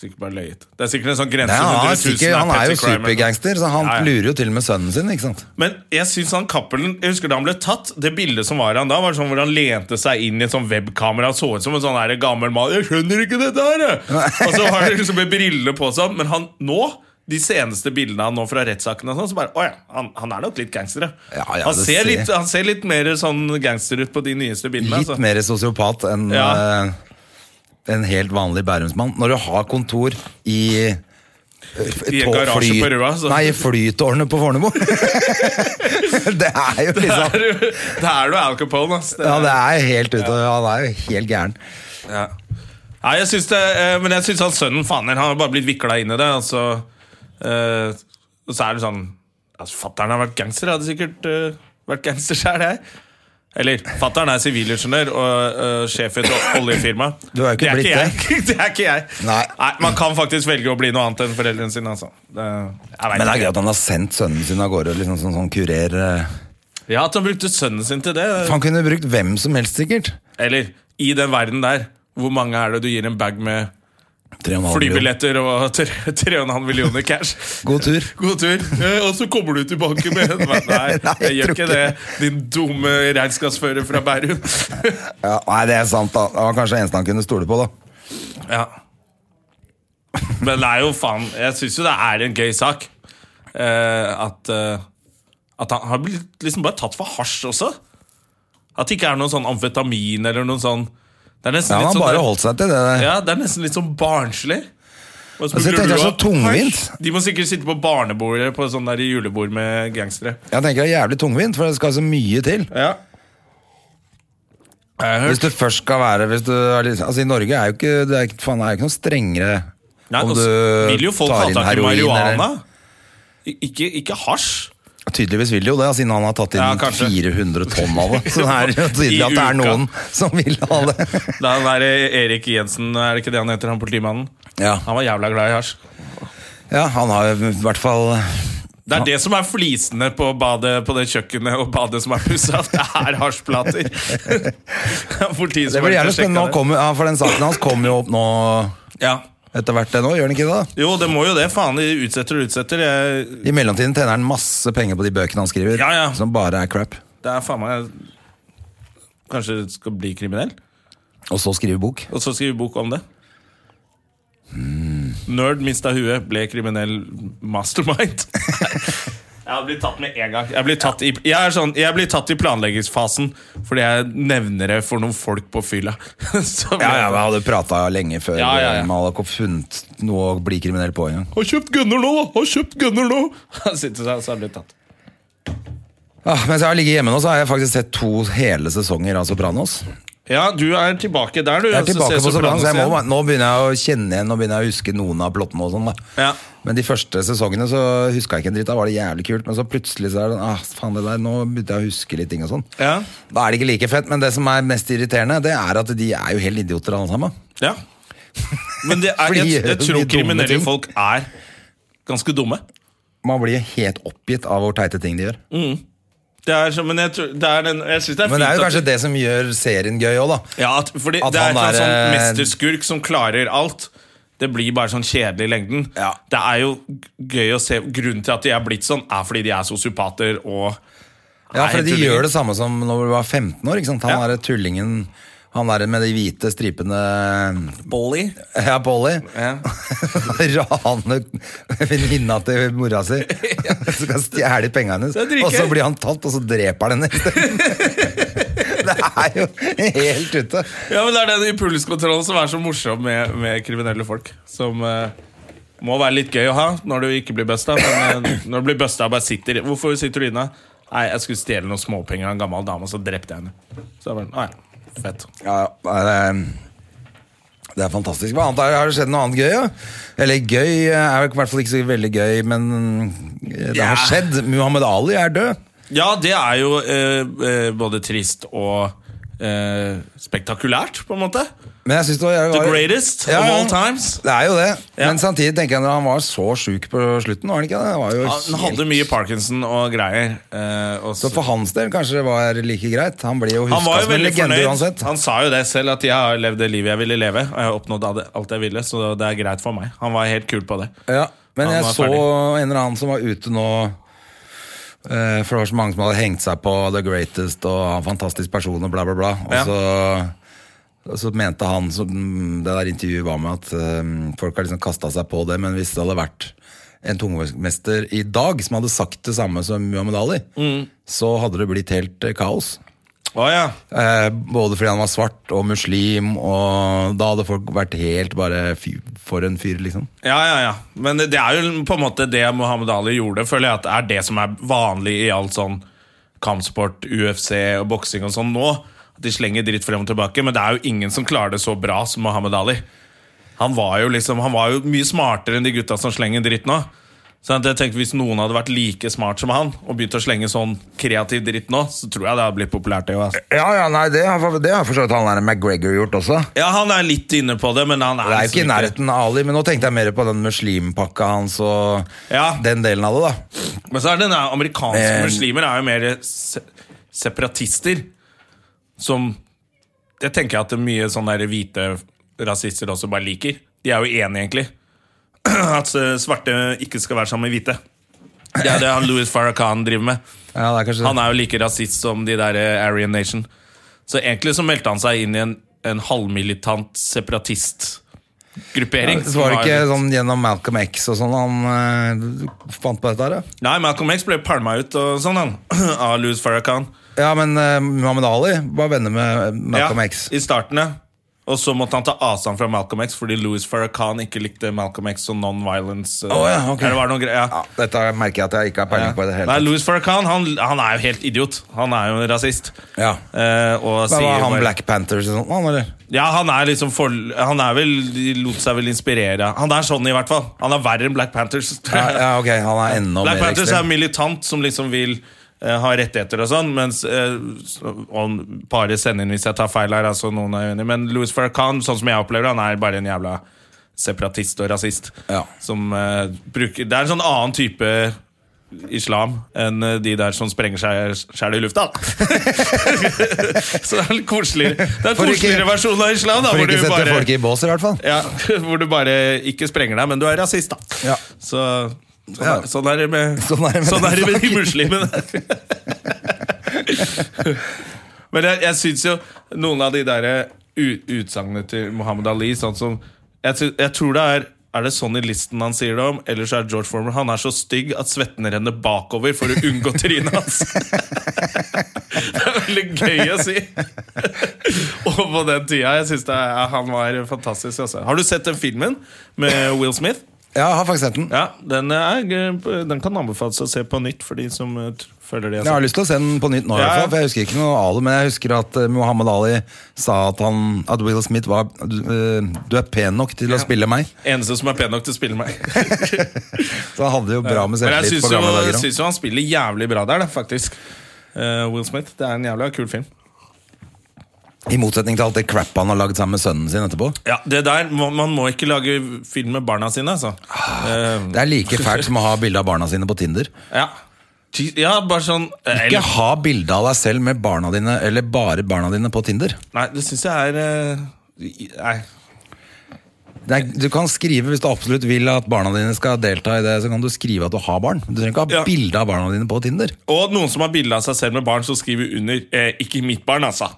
[SPEAKER 1] Sikkert bare løyet. Det er sikkert en sånn grense.
[SPEAKER 2] Nei, han, har
[SPEAKER 1] 100 000
[SPEAKER 2] sikkert, han er jo
[SPEAKER 1] petty crime eller noe.
[SPEAKER 2] supergangster, så han
[SPEAKER 1] Ja, ja.
[SPEAKER 2] lurer jo til og med sønnen sin. ikke sant?
[SPEAKER 1] Men jeg synes han Cappelen Jeg husker da han ble tatt, det bildet som var han da, var sånn hvor han lente seg inn i et sånn webkamera og så ut som en sånn her gammel mann. 'Jeg skjønner ikke dette her!' jeg!» Og så har han liksom med briller på seg. Men han nå de seneste bildene han nå fra rettssakene, og sånn, så bare, «Å ja, han, han er nok litt gangster.
[SPEAKER 2] Ja, ja,
[SPEAKER 1] han,
[SPEAKER 2] det
[SPEAKER 1] ser
[SPEAKER 2] ser-
[SPEAKER 1] litt, han ser litt mer sånn gangster ut på de nyeste bildene.
[SPEAKER 2] Litt
[SPEAKER 1] altså.
[SPEAKER 2] mer sosiopat enn
[SPEAKER 1] Ja.
[SPEAKER 2] eh, en helt vanlig bærumsmann. Når du har kontor i eh,
[SPEAKER 1] I en
[SPEAKER 2] tå-
[SPEAKER 1] garasje
[SPEAKER 2] fly-
[SPEAKER 1] på Røa, så-
[SPEAKER 2] Nei, i flytårnet på Fornebu! det er jo
[SPEAKER 1] Det er
[SPEAKER 2] liksom
[SPEAKER 1] du- det er du Al Capone, ass. Det
[SPEAKER 2] Ja,
[SPEAKER 1] er-
[SPEAKER 2] det er helt ute. Han er jo helt gæren.
[SPEAKER 1] Ja. Nei, jeg syns det, eh, men jeg syns han sønnen faner Han har bare blitt vikla inn i det. Og så, eh, og så er det sånn altså, Fattern har vært gangster. Hadde sikkert eh, vært gangster sjøl, jeg. Eller fattern er sivilingeniør og eh, sjef i et oljefirma.
[SPEAKER 2] Du er jo ikke blitt
[SPEAKER 1] jeg. det er ikke jeg.
[SPEAKER 2] Nei.
[SPEAKER 1] Man kan faktisk velge å bli noe annet enn foreldrene sine. Altså. Det, jeg vet
[SPEAKER 2] Men det er
[SPEAKER 1] ikke.
[SPEAKER 2] greit at han har sendt sønnen sin av gårde liksom, som sånn kurer. eh.
[SPEAKER 1] Ja, At han brukte sønnen sin til det.
[SPEAKER 2] Han kunne brukt hvem som helst, sikkert.
[SPEAKER 1] Eller i den verden der, hvor mange er det du gir en bag med
[SPEAKER 2] 3,5 millioner.
[SPEAKER 1] flybilletter og tre- 3,5 millioner cash?
[SPEAKER 2] God tur.
[SPEAKER 1] God tur. Eh, og så kommer du tilbake med en Nei,
[SPEAKER 2] Nei,
[SPEAKER 1] jeg
[SPEAKER 2] jeg
[SPEAKER 1] gjør
[SPEAKER 2] tror
[SPEAKER 1] ikke
[SPEAKER 2] ikke.
[SPEAKER 1] det, din dumme regnskapsfører fra Bærum.
[SPEAKER 2] Ja, nei, det er sant. da. Det var kanskje eneste han kunne stole på. da
[SPEAKER 1] ja. Men det er jo faen Jeg syns jo det er en gøy sak. Eh, at, eh, at han har blitt liksom bare tatt for hasj også. At det ikke er noe sånn amfetamin eller noe sånn Det er nesten
[SPEAKER 2] Ja,
[SPEAKER 1] litt
[SPEAKER 2] Han
[SPEAKER 1] sånn
[SPEAKER 2] bare holdt seg til det. der.
[SPEAKER 1] Ja, det er nesten litt sånn barnslig. Og
[SPEAKER 2] Altså,
[SPEAKER 1] så
[SPEAKER 2] jeg
[SPEAKER 1] burde
[SPEAKER 2] tenkte det er
[SPEAKER 1] du
[SPEAKER 2] så
[SPEAKER 1] ha-
[SPEAKER 2] tungvint.
[SPEAKER 1] De må sikkert sitte på barnebordet på sånn der julebord med gangstere.
[SPEAKER 2] Jeg tenker det er jævlig tungvint, for det skal så mye til.
[SPEAKER 1] Ja. Jeg har hørt
[SPEAKER 2] Hvis du først skal være hvis du er, litt- Altså I Norge er jo ikke det er, ikke- faen, det er jo ikke noe strengere
[SPEAKER 1] Nei,
[SPEAKER 2] om
[SPEAKER 1] nå
[SPEAKER 2] du
[SPEAKER 1] vil jo folk
[SPEAKER 2] tar
[SPEAKER 1] ha
[SPEAKER 2] inn
[SPEAKER 1] tak i
[SPEAKER 2] heroin
[SPEAKER 1] marihuana.
[SPEAKER 2] eller-
[SPEAKER 1] I- Ikke, ikke hasj.
[SPEAKER 2] Tydeligvis vil de jo det, siden han har tatt inn
[SPEAKER 1] Ja, kanskje.
[SPEAKER 2] 400 tonn av det. Så det er jo tydelig
[SPEAKER 1] I
[SPEAKER 2] at det er
[SPEAKER 1] uka.
[SPEAKER 2] noen som vil ha det.
[SPEAKER 1] Da han der eh, Erik Jensen, er det ikke det han heter, han politimannen?
[SPEAKER 2] Ja,
[SPEAKER 1] Han var jævla glad i hasj.
[SPEAKER 2] ja han har jo i hvert fall
[SPEAKER 1] Det er det som er flisene på, badet, på det kjøkkenet og badet som er pussa. Det er hasjplater! Politiet
[SPEAKER 2] Det
[SPEAKER 1] som
[SPEAKER 2] blir
[SPEAKER 1] har
[SPEAKER 2] jævlig
[SPEAKER 1] sjekket
[SPEAKER 2] spennende. Nå kommer- ja, for den saken hans kommer jo opp nå
[SPEAKER 1] Ja.
[SPEAKER 2] etter hvert, det nå, gjør den ikke det? da?
[SPEAKER 1] Jo, det må jo det. Faen, de utsetter og utsetter. Jeg,
[SPEAKER 2] I mellomtiden tjener han masse penger på de bøkene han skriver,
[SPEAKER 1] Ja, ja.
[SPEAKER 2] som bare er crap.
[SPEAKER 1] det er faen meg Kanskje du skal bli kriminell?
[SPEAKER 2] Og så skriver bok.
[SPEAKER 1] Og så skrive bok om det. Nerd mista huet, ble kriminell mastermind. Jeg blir tatt med en gang. Jeg blir tatt i, jeg er sånn, jeg blir tatt i planleggingsfasen fordi jeg nevner det for noen folk på fylla. Så blir
[SPEAKER 2] Ja, ja,
[SPEAKER 1] jeg-
[SPEAKER 2] men Jeg hadde prata lenge før
[SPEAKER 1] Ja, ja, ja.
[SPEAKER 2] man hadde funnet noe å bli kriminell på engang.
[SPEAKER 1] sånn, Har kjøpt gunner nå, da! Har kjøpt gunner nå! Sitter seg, så jeg blir tatt.
[SPEAKER 2] Ja, Ah, mens jeg har ligget hjemme nå, så har jeg faktisk sett to hele sesonger av Sopranos.
[SPEAKER 1] Ja, du er tilbake der, du.
[SPEAKER 2] Jeg er
[SPEAKER 1] altså,
[SPEAKER 2] tilbake
[SPEAKER 1] ser
[SPEAKER 2] på Sopranos, så jeg må,
[SPEAKER 1] igjen.
[SPEAKER 2] bare- nå begynner jeg å kjenne igjen Nå begynner jeg å huske noen av plottene. og sånn da
[SPEAKER 1] Ja.
[SPEAKER 2] Men de første sesongene så huska jeg ikke en dritt. Da var det jævlig kult, men så plutselig så er det sånn, ah, faen det der, nå begynte jeg å huske litt ting og sånn.
[SPEAKER 1] Ja.
[SPEAKER 2] Da er det ikke like fett, men det som er mest irriterende, det er at de er jo helt idioter alle sammen.
[SPEAKER 1] Ja. Men det er,
[SPEAKER 2] Fordi
[SPEAKER 1] jeg, jeg
[SPEAKER 2] de
[SPEAKER 1] tror
[SPEAKER 2] dumme
[SPEAKER 1] kriminelle
[SPEAKER 2] ting.
[SPEAKER 1] folk er ganske dumme.
[SPEAKER 2] Man blir helt oppgitt av hvor teite ting de gjør.
[SPEAKER 1] Det er, så- men jeg, tror- det er den, jeg synes det er Mm.
[SPEAKER 2] Men
[SPEAKER 1] fint
[SPEAKER 2] det er jo
[SPEAKER 1] at-
[SPEAKER 2] kanskje det som gjør serien gøy òg, da.
[SPEAKER 1] Ja, at, fordi
[SPEAKER 2] At
[SPEAKER 1] det er
[SPEAKER 2] han
[SPEAKER 1] ikke en
[SPEAKER 2] er,
[SPEAKER 1] sånn
[SPEAKER 2] eh,
[SPEAKER 1] mesterskurk som klarer alt. Det blir bare sånn kjedelig i lengden.
[SPEAKER 2] Ja.
[SPEAKER 1] Det er jo gøy å se Grunnen til at de er blitt sånn, er fordi de er sosiopater og
[SPEAKER 2] Ja, for
[SPEAKER 1] Nei,
[SPEAKER 2] de
[SPEAKER 1] tulling.
[SPEAKER 2] gjør det samme som når du var 15 år. ikke sant? Han
[SPEAKER 1] Ja.
[SPEAKER 2] er tullingen Han der med de hvite stripene
[SPEAKER 1] Bolly.
[SPEAKER 2] Ja, Polly.
[SPEAKER 1] Ja.
[SPEAKER 2] Raner venninna til mora si. Skal stjele penga hennes.
[SPEAKER 1] Det er dritgøy.
[SPEAKER 2] Og så blir han tatt, og så dreper han henne isteden. Det er jo helt ute.
[SPEAKER 1] Ja, men Det er den impulskontrollen som er så morsom med, med kriminelle folk. Som eh, må være litt gøy å ha når du ikke blir busta. Men eh, når du blir busta og bare sitter Hvorfor sitter du inne? Nei, jeg skulle stjele noen småpenger av en gammel dame, og så drepte jeg henne. Så jeg bare, nei, fett
[SPEAKER 2] Ja, ja, det er, det er fantastisk. Hva annet er, Har det skjedd noe annet gøy? Ja? Eller gøy er jo i hvert fall ikke så veldig gøy, men det
[SPEAKER 1] Ja.
[SPEAKER 2] har skjedd. Muhammed Ali er død.
[SPEAKER 1] Ja, det er jo eh, eh, både trist og eh, spektakulært, på en måte.
[SPEAKER 2] Men jeg synes det var, jeg
[SPEAKER 1] The
[SPEAKER 2] var-
[SPEAKER 1] greatest of all times.
[SPEAKER 2] Det er jo det.
[SPEAKER 1] Ja.
[SPEAKER 2] Men samtidig tenker jeg når han var så sjuk på slutten, var han ikke det? det? Var jo
[SPEAKER 1] Han
[SPEAKER 2] helt-
[SPEAKER 1] hadde mye Parkinson og greier. eh, og
[SPEAKER 2] Så for hans del kanskje det var like greit. Han blir jo
[SPEAKER 1] han
[SPEAKER 2] huska
[SPEAKER 1] var jo
[SPEAKER 2] som en
[SPEAKER 1] veldig
[SPEAKER 2] legende
[SPEAKER 1] fornøyd.
[SPEAKER 2] uansett.
[SPEAKER 1] Han sa jo det selv, at 'jeg har levd det livet jeg ville leve'. Og jeg har oppnådd alt- alt jeg ville, så det er greit for meg. Han var helt kul på det.
[SPEAKER 2] Ja, men
[SPEAKER 1] Han
[SPEAKER 2] jeg
[SPEAKER 1] var
[SPEAKER 2] så
[SPEAKER 1] ferdig.
[SPEAKER 2] en eller annen som var ute nå eh, For det var så mange som hadde hengt seg på The Greatest og han er en fantastisk person og bla, bla, bla. Og
[SPEAKER 1] Ja.
[SPEAKER 2] så, og så mente han som det der intervjuet var med, at eh, folk har liksom kasta seg på det, men hvis det hadde vært en tungvektsmester i dag som hadde sagt det samme som Muhammed Ali, så hadde det blitt helt eh, kaos.
[SPEAKER 1] Å ja.
[SPEAKER 2] Eh, både fordi han var svart og muslim, og da hadde folk vært helt bare fy, for en fyr, liksom.
[SPEAKER 1] ja, ja, ja. Men det er jo på en måte det Muhammed Ali gjorde, føler jeg at er det som er vanlig i alt sånn kampsport, UFC og boksing og sånn nå. At de slenger dritt frem og tilbake, men det er jo ingen som klarer det så bra som Muhammed Ali. Han var jo liksom, han var jo mye smartere enn de gutta som slenger dritt nå. Så jeg tenkte Hvis noen hadde vært like smart som han og begynt å slenge sånn kreativ dritt nå, så tror jeg det hadde blitt populært. det jo, ass.
[SPEAKER 2] Ja, ja, nei, det har, det har for så vidt han der McGregor gjort også.
[SPEAKER 1] Ja, Han er litt inne på det, men han er,
[SPEAKER 2] Det er jo ikke i
[SPEAKER 1] liksom
[SPEAKER 2] nærheten av Ali, men nå tenkte jeg mer på den muslimpakka hans og
[SPEAKER 1] Ja.
[SPEAKER 2] den delen av det, da.
[SPEAKER 1] Men så er det den der amerikanske
[SPEAKER 2] Men-
[SPEAKER 1] muslimer er jo mer se separatister. Som Det tenker jeg at det er mye sånne der hvite rasister også bare liker. De er jo enige, egentlig. At eh, svarte ikke skal være sammen med hvite. Det er det han Louis Farrakhan driver med.
[SPEAKER 2] Ja, det er kanskje
[SPEAKER 1] Han er jo like rasist som de der eh, Aryan Nation. Så egentlig så meldte han seg inn i en, en halvmilitant separatistgruppering.
[SPEAKER 2] Så var det
[SPEAKER 1] som
[SPEAKER 2] ikke sånn gjennom Malcolm X og sånn han eh, fant på dette her, da?
[SPEAKER 1] Nei, Malcolm X ble pælma ut og sånn, han. Av Louis Farrakhan.
[SPEAKER 2] Ja, men eh, Muhammad Ali var venner med Malcolm
[SPEAKER 1] ja,
[SPEAKER 2] X.
[SPEAKER 1] I starten, ja. Og så måtte han ta avstand fra Malcolm X fordi Louis Farrakhan ikke likte Malcolm X og non-violence. eh,
[SPEAKER 2] Å, ja, ok.
[SPEAKER 1] eller var det noen greier,
[SPEAKER 2] Ja,
[SPEAKER 1] ja.
[SPEAKER 2] dette merker jeg at jeg ikke har peiling på i det hele
[SPEAKER 1] Nei,
[SPEAKER 2] tatt.
[SPEAKER 1] Louis Farrakhan han, han er jo helt idiot. Han er jo en rasist.
[SPEAKER 2] Ja.
[SPEAKER 1] Eh, og
[SPEAKER 2] Men
[SPEAKER 1] sier
[SPEAKER 2] Var han
[SPEAKER 1] bare-
[SPEAKER 2] Black Panthers og sånt, han, eller?
[SPEAKER 1] Ja, han er liksom for, Han er vel, de lot seg vel inspirere Han er sånn i hvert fall. Han er verre enn Black Panthers. tror
[SPEAKER 2] Ja,
[SPEAKER 1] jeg.
[SPEAKER 2] ja, ok, han er enda
[SPEAKER 1] Black
[SPEAKER 2] mer
[SPEAKER 1] Panthers er
[SPEAKER 2] ekstrem.
[SPEAKER 1] militant som liksom vil eh, ha rettigheter og sånn, mens eh, s- om Bare send inn hvis jeg tar feil her, altså noen er uenig, men Louis Farrakhan, sånn som jeg opplever det, han er bare en jævla separatist og rasist.
[SPEAKER 2] Ja.
[SPEAKER 1] Som eh, bruker Det er en sånn annen type islam enn eh, de der som sprenger seg sjæl i lufta. så det er litt koseligere. Det er en
[SPEAKER 2] For ikke-
[SPEAKER 1] koseligere versjon av islam. da
[SPEAKER 2] For
[SPEAKER 1] hvor
[SPEAKER 2] ikke
[SPEAKER 1] du
[SPEAKER 2] sette
[SPEAKER 1] bare-
[SPEAKER 2] folk i bås, i hvert fall.
[SPEAKER 1] ja, hvor du bare ikke sprenger deg, men du er rasist, da.
[SPEAKER 2] Ja.
[SPEAKER 1] Så sånn,
[SPEAKER 2] Ja.
[SPEAKER 1] er, sånn er det med Sånn er det med, de muslimene. men jeg, jeg syns jo noen av de der u- utsagnene til Muhammad Ali, sånn som jeg, sy- jeg tror det er er det Sonny Listen han sier det om? Eller så er det George Former. Han er så stygg at svetten renner bakover for å unngå trynet hans. det er veldig gøy å si. Og på den tida. Jeg synes det er, Han var fantastisk. Altså. Har du sett den filmen med Will Smith?
[SPEAKER 2] Ja, jeg har faktisk sett den.
[SPEAKER 1] Ja, Den, er, den kan anbefales å se på nytt for de som eh, t- føler det.
[SPEAKER 2] Jeg har lyst til å se den på nytt nå, i
[SPEAKER 1] Ja,
[SPEAKER 2] hvert
[SPEAKER 1] ja.
[SPEAKER 2] fall, for jeg husker ikke noe av det. Men jeg husker at eh, Muhammad Ali sa at, han, at Will Smith var Du, eh, du er pen nok til å spille meg.
[SPEAKER 1] Eneste som er pen nok til å spille meg.
[SPEAKER 2] Så han hadde jo bra med
[SPEAKER 1] Men jeg
[SPEAKER 2] selvtillit
[SPEAKER 1] syns
[SPEAKER 2] på
[SPEAKER 1] jo,
[SPEAKER 2] gamle dager. også.
[SPEAKER 1] syns jo han spiller jævlig bra der, da, faktisk. Eh, Will Smith. Det er en jævla kul film.
[SPEAKER 2] I motsetning til alt det crap han har lagd sammen med sønnen sin etterpå.
[SPEAKER 1] Ja, det der, må- Man må ikke lage film med barna sine, altså. Eh,
[SPEAKER 2] Det er like fælt som å ha bilde av barna sine på Tinder.
[SPEAKER 1] ja. Ty- ja, bare sånn eh,
[SPEAKER 2] Ikke ha bilde av deg selv med barna dine, eller bare barna dine, på Tinder.
[SPEAKER 1] Nei, det syns jeg er eh, i- Nei.
[SPEAKER 2] Det er, du kan skrive Hvis du absolutt vil at barna dine skal delta i det, så kan du skrive at du har barn. Du trenger ikke ha
[SPEAKER 1] Ja.
[SPEAKER 2] bilde av barna dine på Tinder.
[SPEAKER 1] Og noen som har bilde av seg selv med barn, som skriver under eh, 'ikke mitt barn', altså.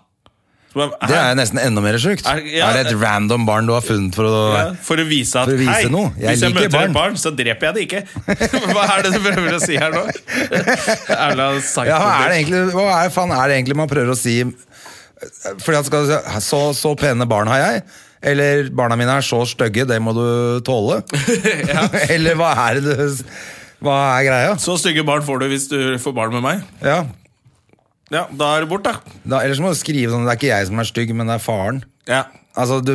[SPEAKER 1] Så bare,
[SPEAKER 2] Det
[SPEAKER 1] hæ?
[SPEAKER 2] er jo nesten enda mer sjukt.
[SPEAKER 1] Er-
[SPEAKER 2] Er,
[SPEAKER 1] ja,
[SPEAKER 2] det et random barn du har funnet for å
[SPEAKER 1] ja, For å vise at
[SPEAKER 2] For å vise
[SPEAKER 1] hei,
[SPEAKER 2] noe. Jeg
[SPEAKER 1] hvis jeg
[SPEAKER 2] liker
[SPEAKER 1] møter
[SPEAKER 2] barn.»
[SPEAKER 1] et barn, så dreper jeg det ikke. Hva er det du prøver å si her nå? Erla psycho.
[SPEAKER 2] Ja, hva er det egentlig, hva er, faen er det egentlig man prøver å si Fordi at skal du si så, så pene barn har jeg. Eller barna mine er så stygge, det må du tåle. Eller hva er det du Hva er greia?
[SPEAKER 1] Så stygge barn får du hvis du får barn med meg.
[SPEAKER 2] Ja,
[SPEAKER 1] Ja, da er det bort, da.
[SPEAKER 2] da, Ellers må du skrive sånn Det er ikke jeg som er stygg, men det er faren.
[SPEAKER 1] Ja.
[SPEAKER 2] Altså, du,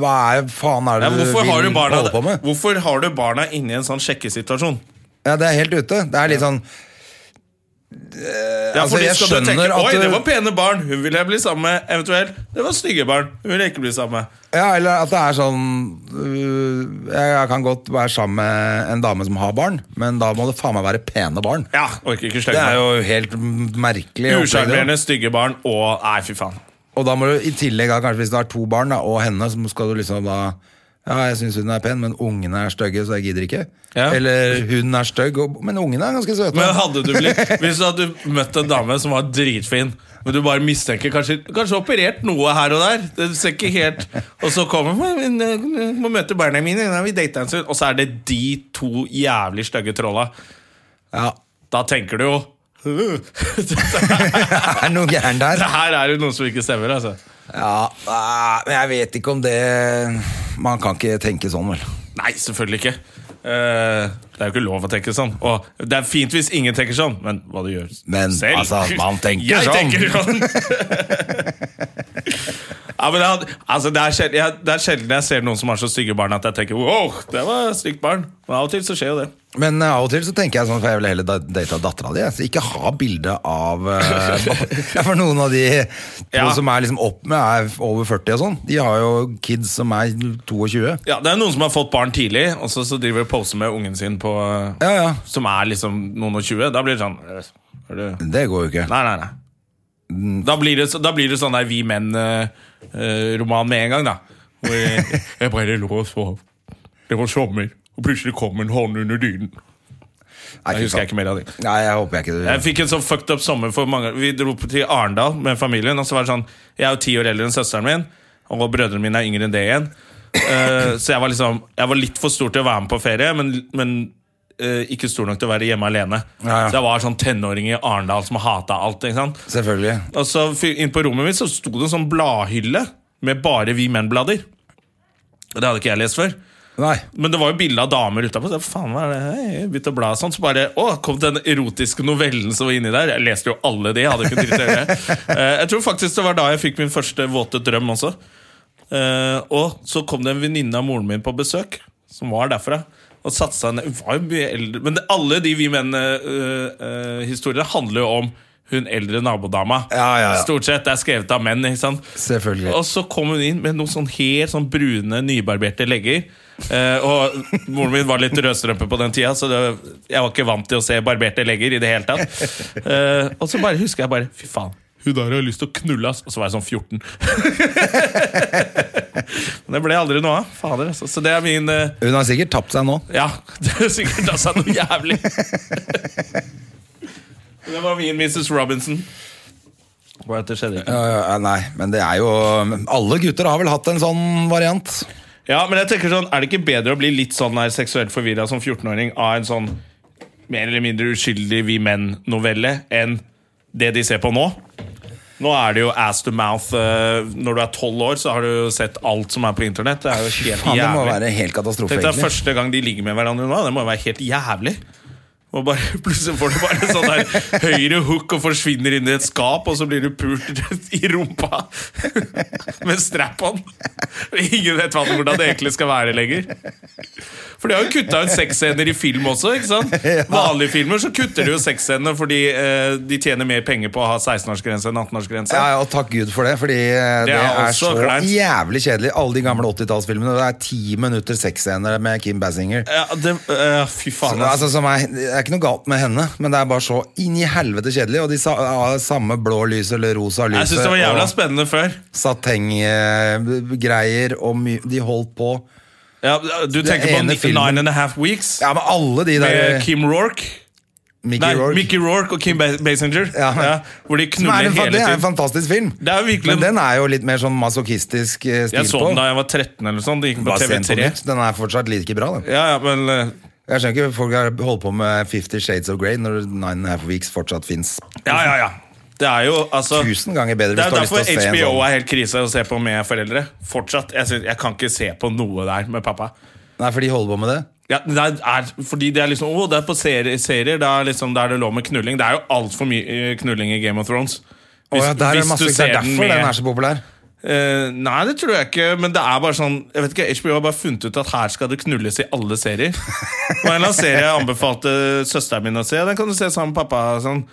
[SPEAKER 2] Hva er faen er
[SPEAKER 1] Ja,
[SPEAKER 2] det du
[SPEAKER 1] hvorfor,
[SPEAKER 2] vil
[SPEAKER 1] har du barna,
[SPEAKER 2] holde på med?
[SPEAKER 1] hvorfor har du barna inni en sånn sjekkesituasjon?
[SPEAKER 2] Ja, Det er helt ute. Det er litt sånn
[SPEAKER 1] Ja,
[SPEAKER 2] Altså,
[SPEAKER 1] fordi
[SPEAKER 2] jeg
[SPEAKER 1] skal du tenke,
[SPEAKER 2] skjønner at
[SPEAKER 1] Oi,
[SPEAKER 2] du-
[SPEAKER 1] det var pene barn, hun vil jeg bli sammen med. Eventuelt, det var stygge barn, hun vil jeg ikke bli sammen med.
[SPEAKER 2] Ja, eller at det er sånn øh, Jeg kan godt være sammen med en dame som har barn, men da må det faen meg være pene barn.
[SPEAKER 1] Ja, orker ikke
[SPEAKER 2] Det
[SPEAKER 1] slenge
[SPEAKER 2] er
[SPEAKER 1] meg.
[SPEAKER 2] jo helt merkelig. opplegg,
[SPEAKER 1] Usjarmerende,
[SPEAKER 2] det.
[SPEAKER 1] stygge barn og Nei, fy faen.
[SPEAKER 2] Og da må du i tillegg, da, kanskje hvis du har to barn da, og henne, så skal du liksom da Ja, jeg syns hun er pen, men ungene er stygge, så jeg gidder ikke.
[SPEAKER 1] Ja.
[SPEAKER 2] Eller hun er stygg, og- men ungene er ganske søte.
[SPEAKER 1] Men hadde du blitt Hvis du hadde møtt en dame som var dritfin, men du bare mistenker Kanskje, kanskje operert noe her og der, Det ser ikke helt og så kommer hun «Men, eh, Må møte barna mine, nei, vi datet en stund, og så er det de to jævlig stygge trolla.
[SPEAKER 2] Ja,
[SPEAKER 1] Da tenker du jo
[SPEAKER 2] det er noe gærent der.
[SPEAKER 1] Det her er jo noe som ikke stemmer, altså.
[SPEAKER 2] Ja, ah, men jeg vet ikke om det Man kan ikke tenke sånn, vel.
[SPEAKER 1] Nei, selvfølgelig ikke. Eh, det er jo ikke lov å tenke sånn. Og det er fint hvis ingen tenker sånn, men hva du gjør
[SPEAKER 2] Men,
[SPEAKER 1] selv
[SPEAKER 2] altså, man tenker
[SPEAKER 1] Jeg
[SPEAKER 2] sånn.
[SPEAKER 1] tenker sånn! ja, men det, had- altså, det, er sjelden, jeg, det er sjelden jeg ser noen som har så stygge barn at jeg tenker wow, det var et stygt barn. Men av og til så skjer jo det.
[SPEAKER 2] Men eh, av og til så tenker jeg sånn, for jeg vil heller da- date dattera di. jeg. Så ikke ha bilde av eh, ja, For noen av de to
[SPEAKER 1] Ja.
[SPEAKER 2] som er liksom opp med, er over 40 og sånn. De har jo kids som er 22.
[SPEAKER 1] Ja, Det er noen som har fått barn tidlig, og så, så driver de og poser med ungen sin på eh,
[SPEAKER 2] Ja, ja.
[SPEAKER 1] Som er liksom noen og tjue. Da blir det sånn eh, er du
[SPEAKER 2] Det går jo ikke.
[SPEAKER 1] Nei, nei, nei. Da blir det, så- da blir det sånn der Vi menn-roman med en gang, da. Hvor jeg, jeg bare lå og sov. Det var sommer, og plutselig kom en hånd under dynen.
[SPEAKER 2] Nei,
[SPEAKER 1] Jeg
[SPEAKER 2] fy
[SPEAKER 1] husker jeg
[SPEAKER 2] faen.
[SPEAKER 1] ikke mer av det.
[SPEAKER 2] Nei, jeg håper jeg ikke
[SPEAKER 1] Jeg fikk en sånn fucked up sommer for mange Vi dro på- til Arendal med familien, og så var det sånn Jeg er jo ti år eldre enn søsteren min, og brødrene mine er yngre enn det igjen. Eh, så jeg var liksom Jeg var litt for stor til å være med på ferie, men, men eh, ikke stor nok til å være hjemme alene.
[SPEAKER 2] Ja, ja.
[SPEAKER 1] Så jeg var sånn tenåring i Arendal som hata alt. ikke sant?
[SPEAKER 2] Selvfølgelig.
[SPEAKER 1] Og så fy- inn på rommet mitt så sto det en sånn bladhylle med bare Vi Menn-blader. Og Det hadde ikke jeg lest før.
[SPEAKER 2] Nei.
[SPEAKER 1] Men det var jo bilde av damer utapå. Så jeg, faen, hva er det? Hei, jeg begynte å bla og sånn. Så bare Å, kom den erotiske novellen som var inni der. Jeg leste jo alle de. Jeg hadde ikke dritt å gjøre. Eh, Jeg tror faktisk det var da jeg fikk min første våte drøm også. Eh, Og så kom det en venninne av moren min på besøk, som var derfra. Og satte seg ned Hun var jo mye eldre. Men det, alle de Vi Menn-historiene eh, handler jo om hun eldre nabodama.
[SPEAKER 2] Ja, ja, ja.
[SPEAKER 1] Stort sett. Det er skrevet av menn. ikke sant?
[SPEAKER 2] Selvfølgelig.
[SPEAKER 1] Og så kom hun inn med noen sånn helt sånn brune, nybarberte legger. Eh, og moren min var litt rødstrømpe på den tida, så det, jeg var ikke vant til å se barberte legger. i det hele tatt Eh, Og så bare husker jeg bare Fy faen, hun der har lyst til å knulle, ass. Og så var jeg sånn 14. Men det ble aldri noe av. Fader, altså. Så det er min eh,
[SPEAKER 2] Hun har sikkert tapt seg nå.
[SPEAKER 1] ja, det er sikkert altså noe jævlig. Det var min Mrs. Robinson. Bare at det skjedde ikke.
[SPEAKER 2] Øh, nei, men det er jo Alle gutter har vel hatt en sånn variant.
[SPEAKER 1] Ja, men jeg tenker sånn, Er det ikke bedre å bli litt sånn her seksuelt forvirra som 14-åring av en sånn mer eller mindre uskyldig Vi menn-novelle enn det de ser på nå? Nå er det jo ass to mouth. eh, Når du er tolv år, så har du jo sett alt som er på internett. Det er jo helt
[SPEAKER 2] Faen, det må
[SPEAKER 1] jævlig.
[SPEAKER 2] være helt katastrofe,
[SPEAKER 1] Tenk deg
[SPEAKER 2] egentlig.
[SPEAKER 1] første gang de ligger med hverandre nå. Det må jo være helt jævlig. Og bare, plutselig får du bare en sånn der høyre hook og forsvinner inn i et skap, og så blir du pult i rumpa med strap-on. Ingen vet hva- hvordan det egentlig skal være lenger. For de har jo kutta ut sexscener i film også. ikke sant? Vanlige filmer så kutter de jo sexscenene fordi eh, de tjener mer penger på å ha 16-årsgrense enn 18-årsgrense.
[SPEAKER 2] Ja, ja, og takk Gud for det, fordi eh, det, er,
[SPEAKER 1] også
[SPEAKER 2] så
[SPEAKER 1] kleint.
[SPEAKER 2] jævlig kjedelig. Alle de gamle 80-tallsfilmene. Det er ti minutter sexscener med Kim Basinger.
[SPEAKER 1] Ja, det, eh, fy faen, altså.
[SPEAKER 2] Altså, som er, det er ikke noe galt med henne, men det er bare så inn i helvete kjedelig. Og de sa, ja, samme blå lys eller rosa
[SPEAKER 1] Jeg
[SPEAKER 2] lyset
[SPEAKER 1] syns det var jævla
[SPEAKER 2] og
[SPEAKER 1] spennende før.
[SPEAKER 2] satenggreier, og my, de holdt på
[SPEAKER 1] Ja, du tenker på
[SPEAKER 2] ene
[SPEAKER 1] Ni-
[SPEAKER 2] filmen-
[SPEAKER 1] Nine and a Half Weeks?
[SPEAKER 2] Ja, men alle de der eh,
[SPEAKER 1] Med Kim Rourke.
[SPEAKER 2] Mickey
[SPEAKER 1] Nei,
[SPEAKER 2] Rourke.
[SPEAKER 1] Mickey Rourke og Kim Ba- Basinger.
[SPEAKER 2] Ja.
[SPEAKER 1] Ja. hvor de
[SPEAKER 2] Som er
[SPEAKER 1] knuller
[SPEAKER 2] en, fa-
[SPEAKER 1] hele
[SPEAKER 2] det er en
[SPEAKER 1] tiden.
[SPEAKER 2] fantastisk film.
[SPEAKER 1] Det er jo virkelig-
[SPEAKER 2] Men den er jo litt mer sånn masochistisk eh, stil
[SPEAKER 1] Jeg så
[SPEAKER 2] på.
[SPEAKER 1] den da jeg var 13 eller sånn. Det gikk på
[SPEAKER 2] Bare sent på
[SPEAKER 1] TV3.
[SPEAKER 2] nytt. Den er fortsatt like bra. Da.
[SPEAKER 1] Ja, ja, men eh,
[SPEAKER 2] Jeg skjønner ikke folk har holdt på med Fifty Shades of Grey når Nine and a Half Weeks fortsatt fins
[SPEAKER 1] Ja, ja, ja. Det er jo altså
[SPEAKER 2] tusen ganger bedre.
[SPEAKER 1] Det er
[SPEAKER 2] Hvis du har
[SPEAKER 1] jo
[SPEAKER 2] lyst til å
[SPEAKER 1] derfor
[SPEAKER 2] se en
[SPEAKER 1] HBO
[SPEAKER 2] sånn.
[SPEAKER 1] er helt krise å se på med foreldre. Fortsatt. Jeg, synes, jeg kan ikke se på noe der med pappa.
[SPEAKER 2] Nei, for de holder på med det.
[SPEAKER 1] Ja, det er, fordi det er liksom Å, det er på serier, serier da er liksom, der det lå med knulling. Det er jo altfor mye eh, knulling i Game of Thrones.
[SPEAKER 2] Å ja, der er det masse, det er derfor den,
[SPEAKER 1] med-
[SPEAKER 2] er så populær.
[SPEAKER 1] Eh, nei, det tror jeg ikke. Men det er bare sånn Jeg vet ikke, HBO har bare funnet ut at her skal det knulles i alle serier. Og en eller annen serie jeg anbefalte søsteren min å se, den kan du se sammen med pappa. Sånn.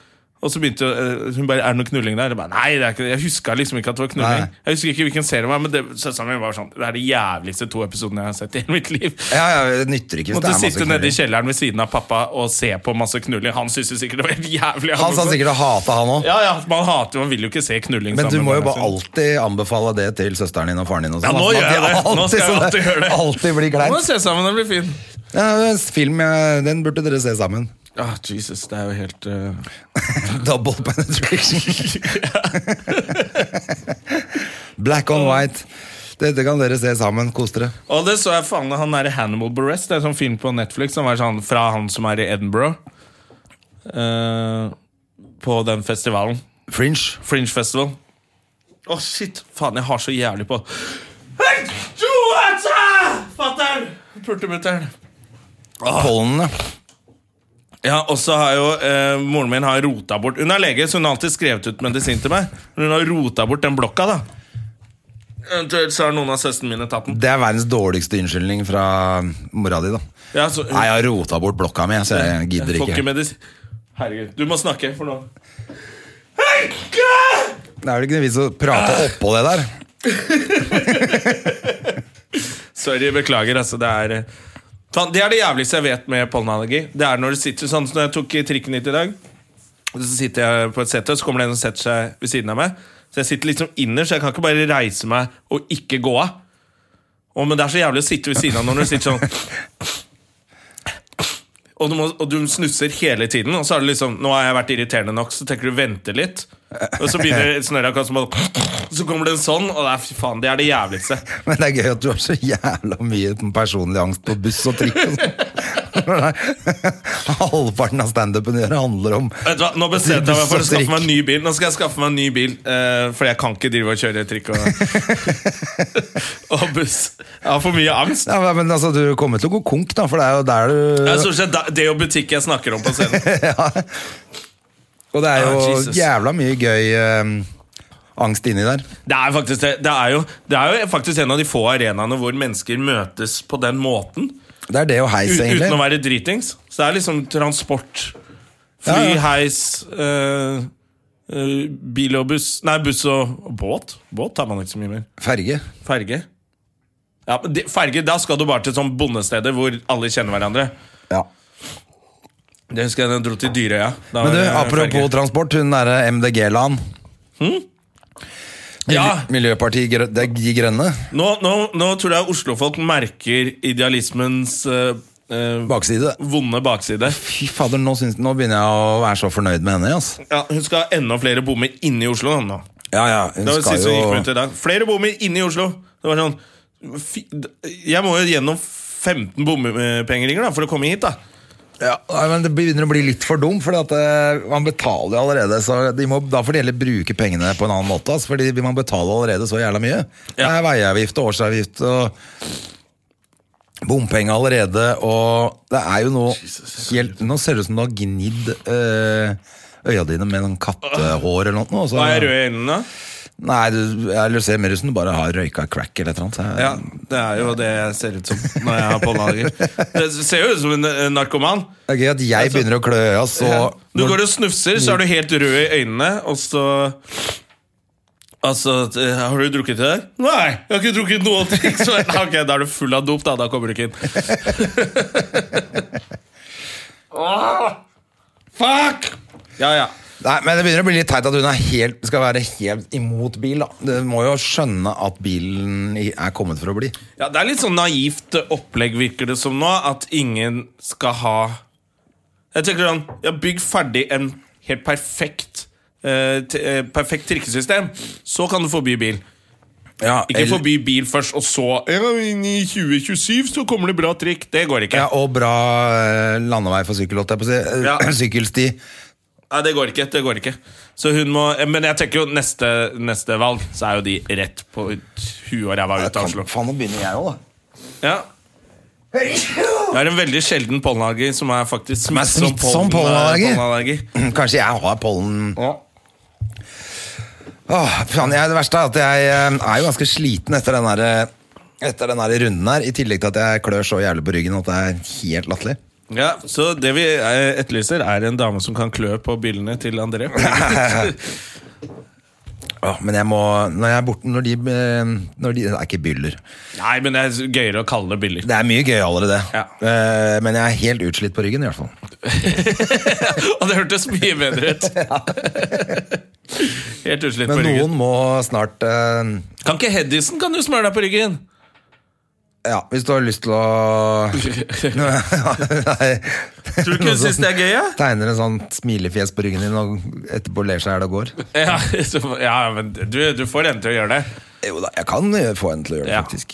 [SPEAKER 1] Og så begynte eh, hun bare Er det noe knulling der? Jeg bare, nei, det er ikke, det. jeg huska liksom ikke at det var knulling.
[SPEAKER 2] Nei.
[SPEAKER 1] Jeg husker ikke hvilken serie det var, men det, søsteren min var sånn Det er de jævligste to episodene jeg har sett i hele mitt liv.
[SPEAKER 2] Ja, ja, det nytter ikke hvis det
[SPEAKER 1] Måtte
[SPEAKER 2] er masse
[SPEAKER 1] sitte nede i
[SPEAKER 2] knulling.
[SPEAKER 1] kjelleren ved siden av pappa og se på masse knulling. Han syntes jo sikkert det var helt jævlig.
[SPEAKER 2] Han sa
[SPEAKER 1] også.
[SPEAKER 2] sikkert å hate han òg.
[SPEAKER 1] Ja, ja, man hater Man vil jo ikke se knulling
[SPEAKER 2] Men du
[SPEAKER 1] sammen
[SPEAKER 2] må jo
[SPEAKER 1] med
[SPEAKER 2] bare
[SPEAKER 1] barna sine.
[SPEAKER 2] alltid anbefale det til søsteren din og faren din. Og
[SPEAKER 1] Ja, nå
[SPEAKER 2] sånn,
[SPEAKER 1] gjør jeg
[SPEAKER 2] at de
[SPEAKER 1] det. Nå skal jeg
[SPEAKER 2] sånn-
[SPEAKER 1] alltid gjøre det.
[SPEAKER 2] Alltid blir
[SPEAKER 1] Nå må
[SPEAKER 2] kleint.
[SPEAKER 1] vi se sammen, den blir fin.
[SPEAKER 2] Ja, det er en film, eh, den burde dere se sammen.
[SPEAKER 1] Ah, Jesus, det er jo helt eh,
[SPEAKER 2] Double penetration. Black on white. Dette kan dere se sammen. Kos dere.
[SPEAKER 1] Og det så jeg faen han der Hannibal Buress. Det er en sånn film på Netflix som er sånn fra han som er i Edinburgh. Eh, på den festivalen.
[SPEAKER 2] Fringe.
[SPEAKER 1] Fringe Festival. Å, shit! Faen, jeg har så jævlig på Hei, Johansa! Fatter'n! Pultemutter'n. Ah.
[SPEAKER 2] Pollenene.
[SPEAKER 1] Ja, og så har jo eh, Moren min har rota bort Hun er lege, så hun har alltid skrevet ut medisin til meg. Men hun har rota bort den blokka, da. Eventuelt så har noen av søstrene mine tatt den.
[SPEAKER 2] Det er verdens dårligste unnskyldning fra mora di, da.
[SPEAKER 1] Ja, så,
[SPEAKER 2] Nei, jeg har rota bort blokka mi, så jeg gidder
[SPEAKER 1] Får ikke
[SPEAKER 2] ikke.
[SPEAKER 1] medis- Herregud, du må snakke for nå. Henke!
[SPEAKER 2] Det er vel ikke noe vits å prate oppå det der.
[SPEAKER 1] Sorry, beklager. Altså, det er eh, faen, Det er det jævligste jeg vet med pollenallergi. Det er når du sitter sånn som når jeg tok trikken hit i dag. og Så sitter jeg på et sete, og så kommer det en og setter seg ved siden av meg. Så jeg sitter liksom innerst, så jeg kan ikke bare reise meg og ikke gå av. Å, men det er så jævlig å sitte ved siden av når du sitter sånn Og du, må, og du snusser hele tiden, og så er det liksom Nå har jeg vært irriterende nok, så tenker du vente litt. Og så begynner snørra kanskje bare Så kommer det en sånn, og det er fy faen, det er det jævligste.
[SPEAKER 2] Men det er gøy at du har så jævla mye personlig angst på buss og trikk. og sånn. Halvparten av standupen gjør handler om
[SPEAKER 1] Vet du hva, Nå bestemte jeg meg for å
[SPEAKER 2] Buss og
[SPEAKER 1] skaffe meg en
[SPEAKER 2] trikk.
[SPEAKER 1] ny bil. Nå skal jeg skaffe meg en ny bil, eh, for jeg kan ikke drive og kjøre trikk og, og buss. Jeg har for mye angst.
[SPEAKER 2] Ja, men altså, Du kommer til å gå konk, da, for det er jo der du
[SPEAKER 1] Det er stort sett da- det og butikk jeg snakker om på scenen.
[SPEAKER 2] Og det er jo
[SPEAKER 1] Ah, Jesus.
[SPEAKER 2] jævla mye gøy eh, angst inni der.
[SPEAKER 1] Det er, faktisk, det, det, er jo, det er jo faktisk en av de få arenaene hvor mennesker møtes på den måten.
[SPEAKER 2] Det er det og heis,
[SPEAKER 1] U
[SPEAKER 2] egentlig.
[SPEAKER 1] uten å være dritings. Så det er liksom transport, fly,
[SPEAKER 2] Ja, ja.
[SPEAKER 1] heis eh, eh, bil og buss Nei, buss og og båt. Båt tar man ikke så mye mer.
[SPEAKER 2] Ferge.
[SPEAKER 1] Ferge. Ja, men de, ferge, Da skal du bare til sånn bondesteder hvor alle kjenner hverandre.
[SPEAKER 2] Ja.
[SPEAKER 1] Det husker jeg da jeg dro til Dyrøya. Da
[SPEAKER 2] Men du,
[SPEAKER 1] var det
[SPEAKER 2] apropos
[SPEAKER 1] ferge.
[SPEAKER 2] transport, hun derre MDG-lan. Hm?
[SPEAKER 1] Ja.
[SPEAKER 2] Miljøpartiet Grø- det er De Grønne.
[SPEAKER 1] nå, nå, nå tror jeg oslofolk merker idealismens eh, eh,
[SPEAKER 2] Bakside.
[SPEAKER 1] vonde bakside.
[SPEAKER 2] Fy fader, nå, syns- nå begynner jeg å være så fornøyd med henne. Altså.
[SPEAKER 1] Ja, hun skal ha enda flere bommer inne i Oslo. da, nå
[SPEAKER 2] Ja, ja, hun
[SPEAKER 1] Det var det
[SPEAKER 2] skal
[SPEAKER 1] siste hun gikk med ut
[SPEAKER 2] jo
[SPEAKER 1] i dag. Flere bommer inne i Oslo. Det var sånn fi- Jeg må jo gjennom 15 bompengeringer da, for å komme hit, da.
[SPEAKER 2] ja, nei, men Det begynner å bli litt for dum, for eh, man betaler jo allerede. Så de må, da får de heller bruke pengene på en annen måte. Altså, fordi man betaler allerede så jævla mye. Det
[SPEAKER 1] Ja.
[SPEAKER 2] er veiavgift og årsavgift og bompenger allerede. Og det er jo noe helt Nå ser det ut som du har gnidd øh, øya dine med noen kattehår eller noe. og så-
[SPEAKER 1] Da er jeg rød i øynene. da.
[SPEAKER 2] Nei, du, jeg ser mer ut som du bare har røyka crack eller et eller annet. så jeg-
[SPEAKER 1] Ja, Det er jo det jeg ser ut som når jeg har pålager. Det ser jo ut som en eh, narkoman.
[SPEAKER 2] Det er gøy at jeg begynner å klø i øya, så
[SPEAKER 1] Du går og snufser, så er du helt rød i øynene, og så Altså, t- Har du drukket i dag? Nei, jeg har ikke drukket noe. ting så, Ok, Da er du full av dop, da. Da kommer du ikke inn. Åh, fuck! Ja, ja.
[SPEAKER 2] Nei, men Det begynner å bli litt teit at hun er helt, skal være helt imot bil. da Du må jo skjønne at bilen i- er kommet for å bli.
[SPEAKER 1] Ja, Det er litt sånn naivt opplegg, virker det som nå, at ingen skal ha Jeg tenker sånn ja, Bygg ferdig en helt perfekt eh, t eh, Perfekt trikkesystem, så kan du forby bil. Ikke
[SPEAKER 2] eller-
[SPEAKER 1] forby bil først, og så ja, inn I 2027 så kommer det bra trikk. Det går ikke.
[SPEAKER 2] Ja, Og bra eh, landevei for sykkel, holdt jeg på å si. Eh,
[SPEAKER 1] Ja.
[SPEAKER 2] Sykkelsti.
[SPEAKER 1] Nei, det går ikke. det går ikke Så hun må eh, Men jeg tenker jo neste, neste valg, så er jo de rett på huet og ræva ut av Oslo.
[SPEAKER 2] faen, nå begynner jeg òg, da.
[SPEAKER 1] Ja. Det er en veldig sjelden pollenallergi som er faktisk
[SPEAKER 2] er
[SPEAKER 1] smittsom,
[SPEAKER 2] smittsom
[SPEAKER 1] pollen-
[SPEAKER 2] pollenallergi.
[SPEAKER 1] pollenallergi.
[SPEAKER 2] Kanskje jeg har pollen Åh, faen, jeg, Det verste er at jeg eh, er jo ganske sliten etter den der, eh, etter den der runden her. I tillegg til at jeg klør så jævlig på ryggen at det er helt latterlig.
[SPEAKER 1] Ja, Så det vi eh, etterlyser, er en dame som kan klø på bildene til André.
[SPEAKER 2] Åh, men jeg må, når jeg er borte Når de, eh, når de Det er ikke byller.
[SPEAKER 1] Nei, men det er gøyere å kalle det billig.
[SPEAKER 2] Det er mye gøyalere, det.
[SPEAKER 1] Ja.
[SPEAKER 2] Eh, Men jeg er helt utslitt på ryggen, i hvert fall.
[SPEAKER 1] Og det hørtes mye bedre ut. Helt utslitt på
[SPEAKER 2] Men
[SPEAKER 1] ryggen.
[SPEAKER 2] noen må snart eh,
[SPEAKER 1] Kan ikke Hedisen kan du smøre deg på ryggen?
[SPEAKER 2] Ja, hvis du har lyst til å Nei.
[SPEAKER 1] Tror du ikke
[SPEAKER 2] Noen
[SPEAKER 1] hun syns
[SPEAKER 2] som
[SPEAKER 1] det er gøy? Ja?
[SPEAKER 2] Tegner en sånn smilefjes på ryggen din og etterpå ler seg i hjel og går.
[SPEAKER 1] Ja, så- ja, men du, du får henne til å gjøre det.
[SPEAKER 2] Jo da, jeg kan eh, få henne til å gjøre det,
[SPEAKER 1] Ja.
[SPEAKER 2] faktisk.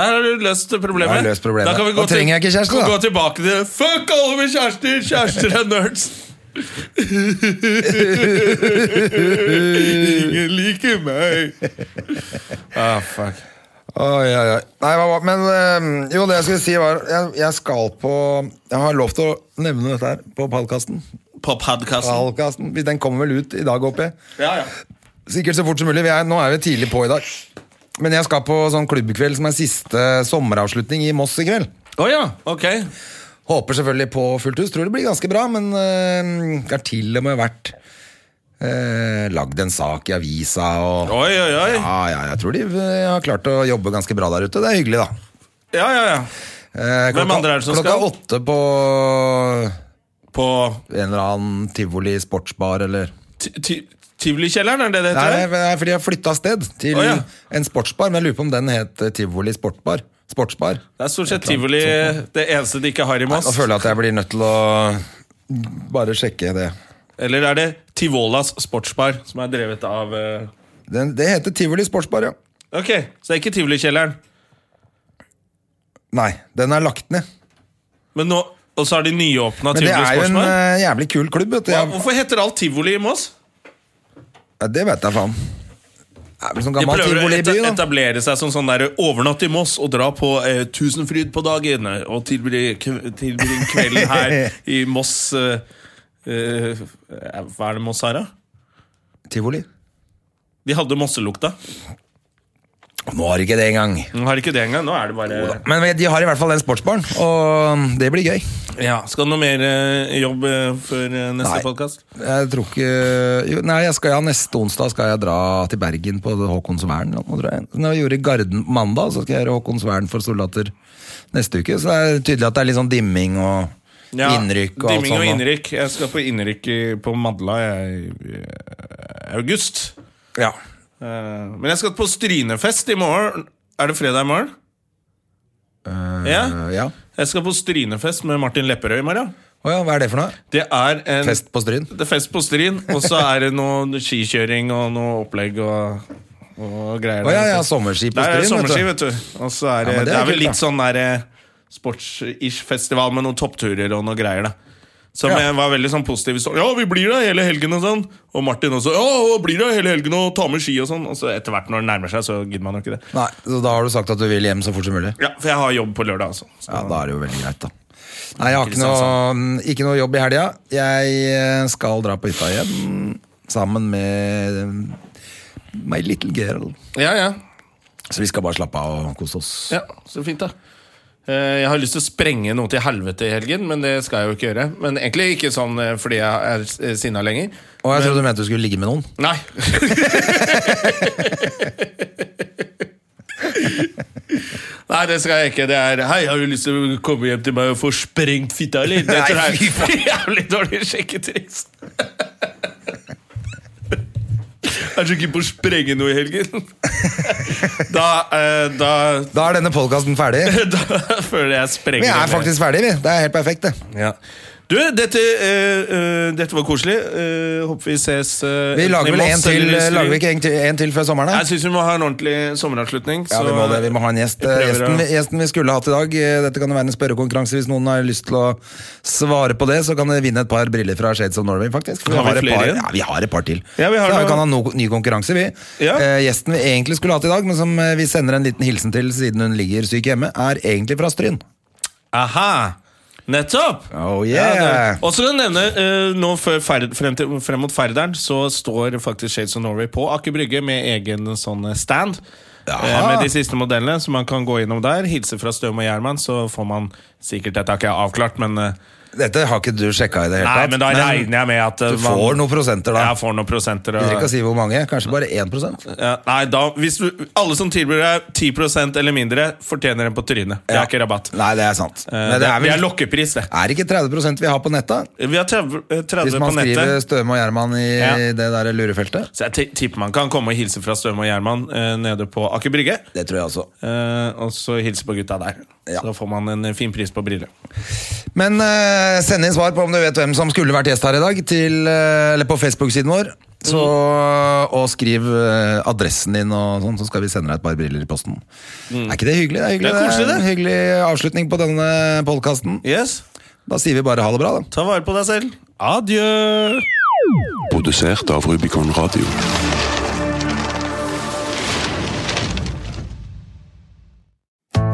[SPEAKER 1] Der har du løst problemet.
[SPEAKER 2] Jeg har løst problemet.
[SPEAKER 1] Da, kan vi gå
[SPEAKER 2] Da trenger jeg ikke kjæreste,
[SPEAKER 1] til,
[SPEAKER 2] da.
[SPEAKER 1] Gå tilbake til Fuck alle med kjærester! Kjærester er nerds! Ingen liker meg. Ah, fuck.
[SPEAKER 2] Oi, oi, oi. Nei, hva, var- men eh, jo, det jeg skulle si, var jeg, jeg skal på Jeg har lov til å nevne dette her på podkasten.
[SPEAKER 1] På podkasten.
[SPEAKER 2] Podkasten. Den kommer vel ut i dag, håper jeg.
[SPEAKER 1] Ja, ja.
[SPEAKER 2] Sikkert så fort som mulig. Vi er, nå er vi tidlig på i dag. Men jeg skal på sånn klubbkveld som er siste sommeravslutning i Moss i kveld.
[SPEAKER 1] Å ja, ok.
[SPEAKER 2] Håper selvfølgelig på fullt hus. Tror det blir ganske bra, men øh, det har til og med vært øh, lagd en sak i avisa og
[SPEAKER 1] Oi, oi, oi.
[SPEAKER 2] ja, ja, jeg tror de øh, har klart å jobbe ganske bra der ute. Det er hyggelig, da.
[SPEAKER 1] Ja, ja, ja.
[SPEAKER 2] Eh,
[SPEAKER 1] Hvem andre er det som
[SPEAKER 2] klokka
[SPEAKER 1] skal?
[SPEAKER 2] åtte på
[SPEAKER 1] På
[SPEAKER 2] en eller annen tivoli sportsbar eller
[SPEAKER 1] ti- ti- Tivolikjelleren, er det det
[SPEAKER 2] Nei,
[SPEAKER 1] heter?
[SPEAKER 2] nei, for de har flytta sted til
[SPEAKER 1] Å, ja.
[SPEAKER 2] en sportsbar, men jeg lurer på om den het eh, Tivoli Sportbar. Sportsbar.
[SPEAKER 1] Det er stort sett tivoli det eneste de ikke har i Moss.
[SPEAKER 2] Da føler jeg at jeg blir nødt til å bare sjekke det.
[SPEAKER 1] Eller er det Tivolas sportsbar, som er drevet av eh,
[SPEAKER 2] Den, det heter Tivoli Sportsbar, ja.
[SPEAKER 1] Ok, så det er ikke Tivolikjelleren.
[SPEAKER 2] Nei, den er lagt ned.
[SPEAKER 1] Men nå, og så har de nyåpna
[SPEAKER 2] Men det
[SPEAKER 1] Tivoli
[SPEAKER 2] er jo en
[SPEAKER 1] Sportsbar.
[SPEAKER 2] eh, jævlig kul klubb, vet du.
[SPEAKER 1] Hva-
[SPEAKER 2] Jeg,
[SPEAKER 1] Hvorfor heter alt tivoli i Moss?
[SPEAKER 2] ja, det vet jeg faen. Det er vel sånn
[SPEAKER 1] De
[SPEAKER 2] gammel
[SPEAKER 1] prøver å
[SPEAKER 2] tivoli i
[SPEAKER 1] eta
[SPEAKER 2] byen, da.
[SPEAKER 1] etablere seg som sånn der overnatt i Moss og dra på eh, Tusenfryd på dagen eh, og tilbringe kv- tilbringe kvelden her i Moss eh, eh, Hva er det Moss her, da?
[SPEAKER 2] Tivoli.
[SPEAKER 1] De hadde Mosselukta.
[SPEAKER 2] Nå har ikke det engang.
[SPEAKER 1] Nå har de ikke det engang. Nå er det bare
[SPEAKER 2] Men de har i hvert fall den sportsbaren, og det blir gøy.
[SPEAKER 1] Ja, Skal du noe mer eh, jobb eh, før eh, neste
[SPEAKER 2] Nei.
[SPEAKER 1] podkast?
[SPEAKER 2] Jeg tror ikke jo, Nei, jeg skal, ja, neste onsdag skal jeg dra til Bergen på Håkonsvern. eller noe, tror jeg. Når jeg gjorde Garden på mandag, så skal jeg gjøre Håkonsvern for soldater neste uke. Så det er tydelig at det er litt sånn dimming og innrykk og alt
[SPEAKER 1] Dimming
[SPEAKER 2] sånt.
[SPEAKER 1] og
[SPEAKER 2] nå.
[SPEAKER 1] innrykk. Jeg skal på innrykk i- på Madla jeg, i eh, august.
[SPEAKER 2] Ja.
[SPEAKER 1] Eh, Men jeg skal på Strynefest i morgen. Er det fredag i morgen? ja.
[SPEAKER 2] Eh, ja.
[SPEAKER 1] Jeg skal på Strynefest med Martin Lepperød i morgen.
[SPEAKER 2] Å ja, hva er det for noe?
[SPEAKER 1] Det er en
[SPEAKER 2] Fest på Stryn?
[SPEAKER 1] Det er fest på Stryn, og så er det noe skikjøring og noe opplegg og, og greier.
[SPEAKER 2] Å ja,
[SPEAKER 1] der.
[SPEAKER 2] ja, sommerski på
[SPEAKER 1] Der er det
[SPEAKER 2] Stryn, vet du.
[SPEAKER 1] sommerski, vet du. Og så er det,
[SPEAKER 2] Ja, men
[SPEAKER 1] det,
[SPEAKER 2] det
[SPEAKER 1] er
[SPEAKER 2] er
[SPEAKER 1] vel
[SPEAKER 2] kult,
[SPEAKER 1] litt sånn der eh, sports-ish festival med noen toppturer og noe greier, da. Som
[SPEAKER 2] Ja.
[SPEAKER 1] jeg var veldig sånn positiv så, Ja, vi blir der hele helgen og sånn. Og Martin også. Ja, og blir der hele helgen og tar med ski og sånn. Og så etter hvert når det nærmer seg, så gidder man jo ikke det.
[SPEAKER 2] Nei, så Da har du sagt at du vil hjem så fort som mulig?
[SPEAKER 1] Ja, For jeg har jobb på lørdag, altså. Så.
[SPEAKER 2] Ja, Da er det jo veldig greit, da. Nei, Jeg har ikke noe, ikke noe jobb i helga. Jeg eh, skal dra på hytta igjen sammen med eh, my little girl.
[SPEAKER 1] Ja, ja.
[SPEAKER 2] Så vi skal bare slappe av og kose oss.
[SPEAKER 1] ja så fint, da. Eh, Jeg har lyst til å sprenge noe til helvete i helgen, men det skal jeg jo ikke gjøre. Men egentlig ikke sånn eh, fordi jeg er eh, sinna lenger.
[SPEAKER 2] Og jeg trodde du mente du skulle ligge med noen.
[SPEAKER 1] Nei. Nei, det skal jeg ikke. Det er Hei, har du lyst til å komme hjem til meg og få sprengt fitta, eller? Det tror
[SPEAKER 2] Nei, fy
[SPEAKER 1] jeg er jævlig dårlig sjekketriks. Jeg er så keen på å sprenge noe i helgen. Da, eh, da,
[SPEAKER 2] Da er denne podkasten ferdig.
[SPEAKER 1] da føler jeg
[SPEAKER 2] Vi
[SPEAKER 1] sprenger.
[SPEAKER 2] er faktisk ferdig, vi. Det er helt perfekt, det.
[SPEAKER 1] ja. Du, dette, eh, eh, dette var koselig. Eh, håper vi ses eh,
[SPEAKER 2] Vi
[SPEAKER 1] enten i
[SPEAKER 2] lager vel en
[SPEAKER 1] Moss
[SPEAKER 2] til, eh,
[SPEAKER 1] eller i Stryn.
[SPEAKER 2] lager vi ikke en til, en til før sommeren? da?
[SPEAKER 1] Jeg syns vi må ha en ordentlig sommeravslutning.
[SPEAKER 2] Ja,
[SPEAKER 1] så-
[SPEAKER 2] vi må, det. vi må ha en gjest.
[SPEAKER 1] Jeg prøver
[SPEAKER 2] Gjesten,
[SPEAKER 1] å-
[SPEAKER 2] gjesten vi skulle hatt i dag, eh, dette kan jo være en spørrekonkurranse. Hvis noen har lyst til å svare på det, så kan de vinne et par briller fra Shades of Norway, faktisk.
[SPEAKER 1] Har vi
[SPEAKER 2] et
[SPEAKER 1] flere
[SPEAKER 2] par,
[SPEAKER 1] igjen?
[SPEAKER 2] ja, vi har et par til.
[SPEAKER 1] Ja, vi har
[SPEAKER 2] så
[SPEAKER 1] det.
[SPEAKER 2] vi kan ha no, ny konkurranse, vi.
[SPEAKER 1] Ja.
[SPEAKER 2] Eh, gjesten vi egentlig skulle hatt i dag, men som eh, vi sender en liten hilsen til siden hun ligger syk hjemme, er egentlig fra Stryn.
[SPEAKER 1] Aha! Nettopp!
[SPEAKER 2] Oh, yeah.
[SPEAKER 1] Ja, det- og så kan jeg nevne, eh, nå før ferd, frem, til, frem mot Færderen så står faktisk Shades of Norway på Aker Brygge med egen sånn stand.
[SPEAKER 2] Jaha.
[SPEAKER 1] Eh, Med de siste modellene, så man kan gå innom der. Hilse fra Støm og Gjerman, så får man sikkert Dette har ikke jeg avklart, men eh,
[SPEAKER 2] Dette har ikke du sjekka i det hele
[SPEAKER 1] Nei, men da regner jeg med at eh,
[SPEAKER 2] du får noen prosenter, da.
[SPEAKER 1] Jeg får noen prosenter. og-
[SPEAKER 2] Jeg vil ikke si hvor mange, kanskje bare 1
[SPEAKER 1] Ja, nei, da, hvis du, alle som tilbyr deg 10 eller mindre, fortjener en på trynet. Det er ikke rabatt.
[SPEAKER 2] Nei, det er sant.
[SPEAKER 1] Eh,
[SPEAKER 2] Men
[SPEAKER 1] det,
[SPEAKER 2] er,
[SPEAKER 1] det er
[SPEAKER 2] vel,
[SPEAKER 1] lokkepris, det.
[SPEAKER 2] er det ikke 30 vi har på nettet?
[SPEAKER 1] Vi har 30, eh, 30
[SPEAKER 2] Hvis
[SPEAKER 1] på
[SPEAKER 2] man skriver
[SPEAKER 1] nettet.
[SPEAKER 2] Støme og Gjerman i
[SPEAKER 1] Ja.
[SPEAKER 2] det der lurefeltet?
[SPEAKER 1] Så jeg ti- tipper man kan komme og hilse fra Støme og Gjerman eh, nede på Aker Brygge.
[SPEAKER 2] Det tror jeg også.
[SPEAKER 1] Eh, og så hilse på gutta der.
[SPEAKER 2] Ja.
[SPEAKER 1] Så da får man en eh, fin pris på briller.
[SPEAKER 2] Men eh, send inn svar på om du vet hvem som skulle vært gjest her i dag, til, eh, eller på Facebook-siden vår. Så,
[SPEAKER 1] Mm.
[SPEAKER 2] Og skriv eh, adressen din, og sånn, så skal vi sende deg et par briller i posten. Er ikke det hyggelig? Det er, hyggelig,
[SPEAKER 1] Mm. Det er koselig,
[SPEAKER 2] en hyggelig avslutning på denne podkasten.
[SPEAKER 1] Yes,
[SPEAKER 2] Da sier vi bare ha det bra, da.
[SPEAKER 1] Ta vare på deg selv. Adjø!
[SPEAKER 3] Produsert av Rubicon Radio.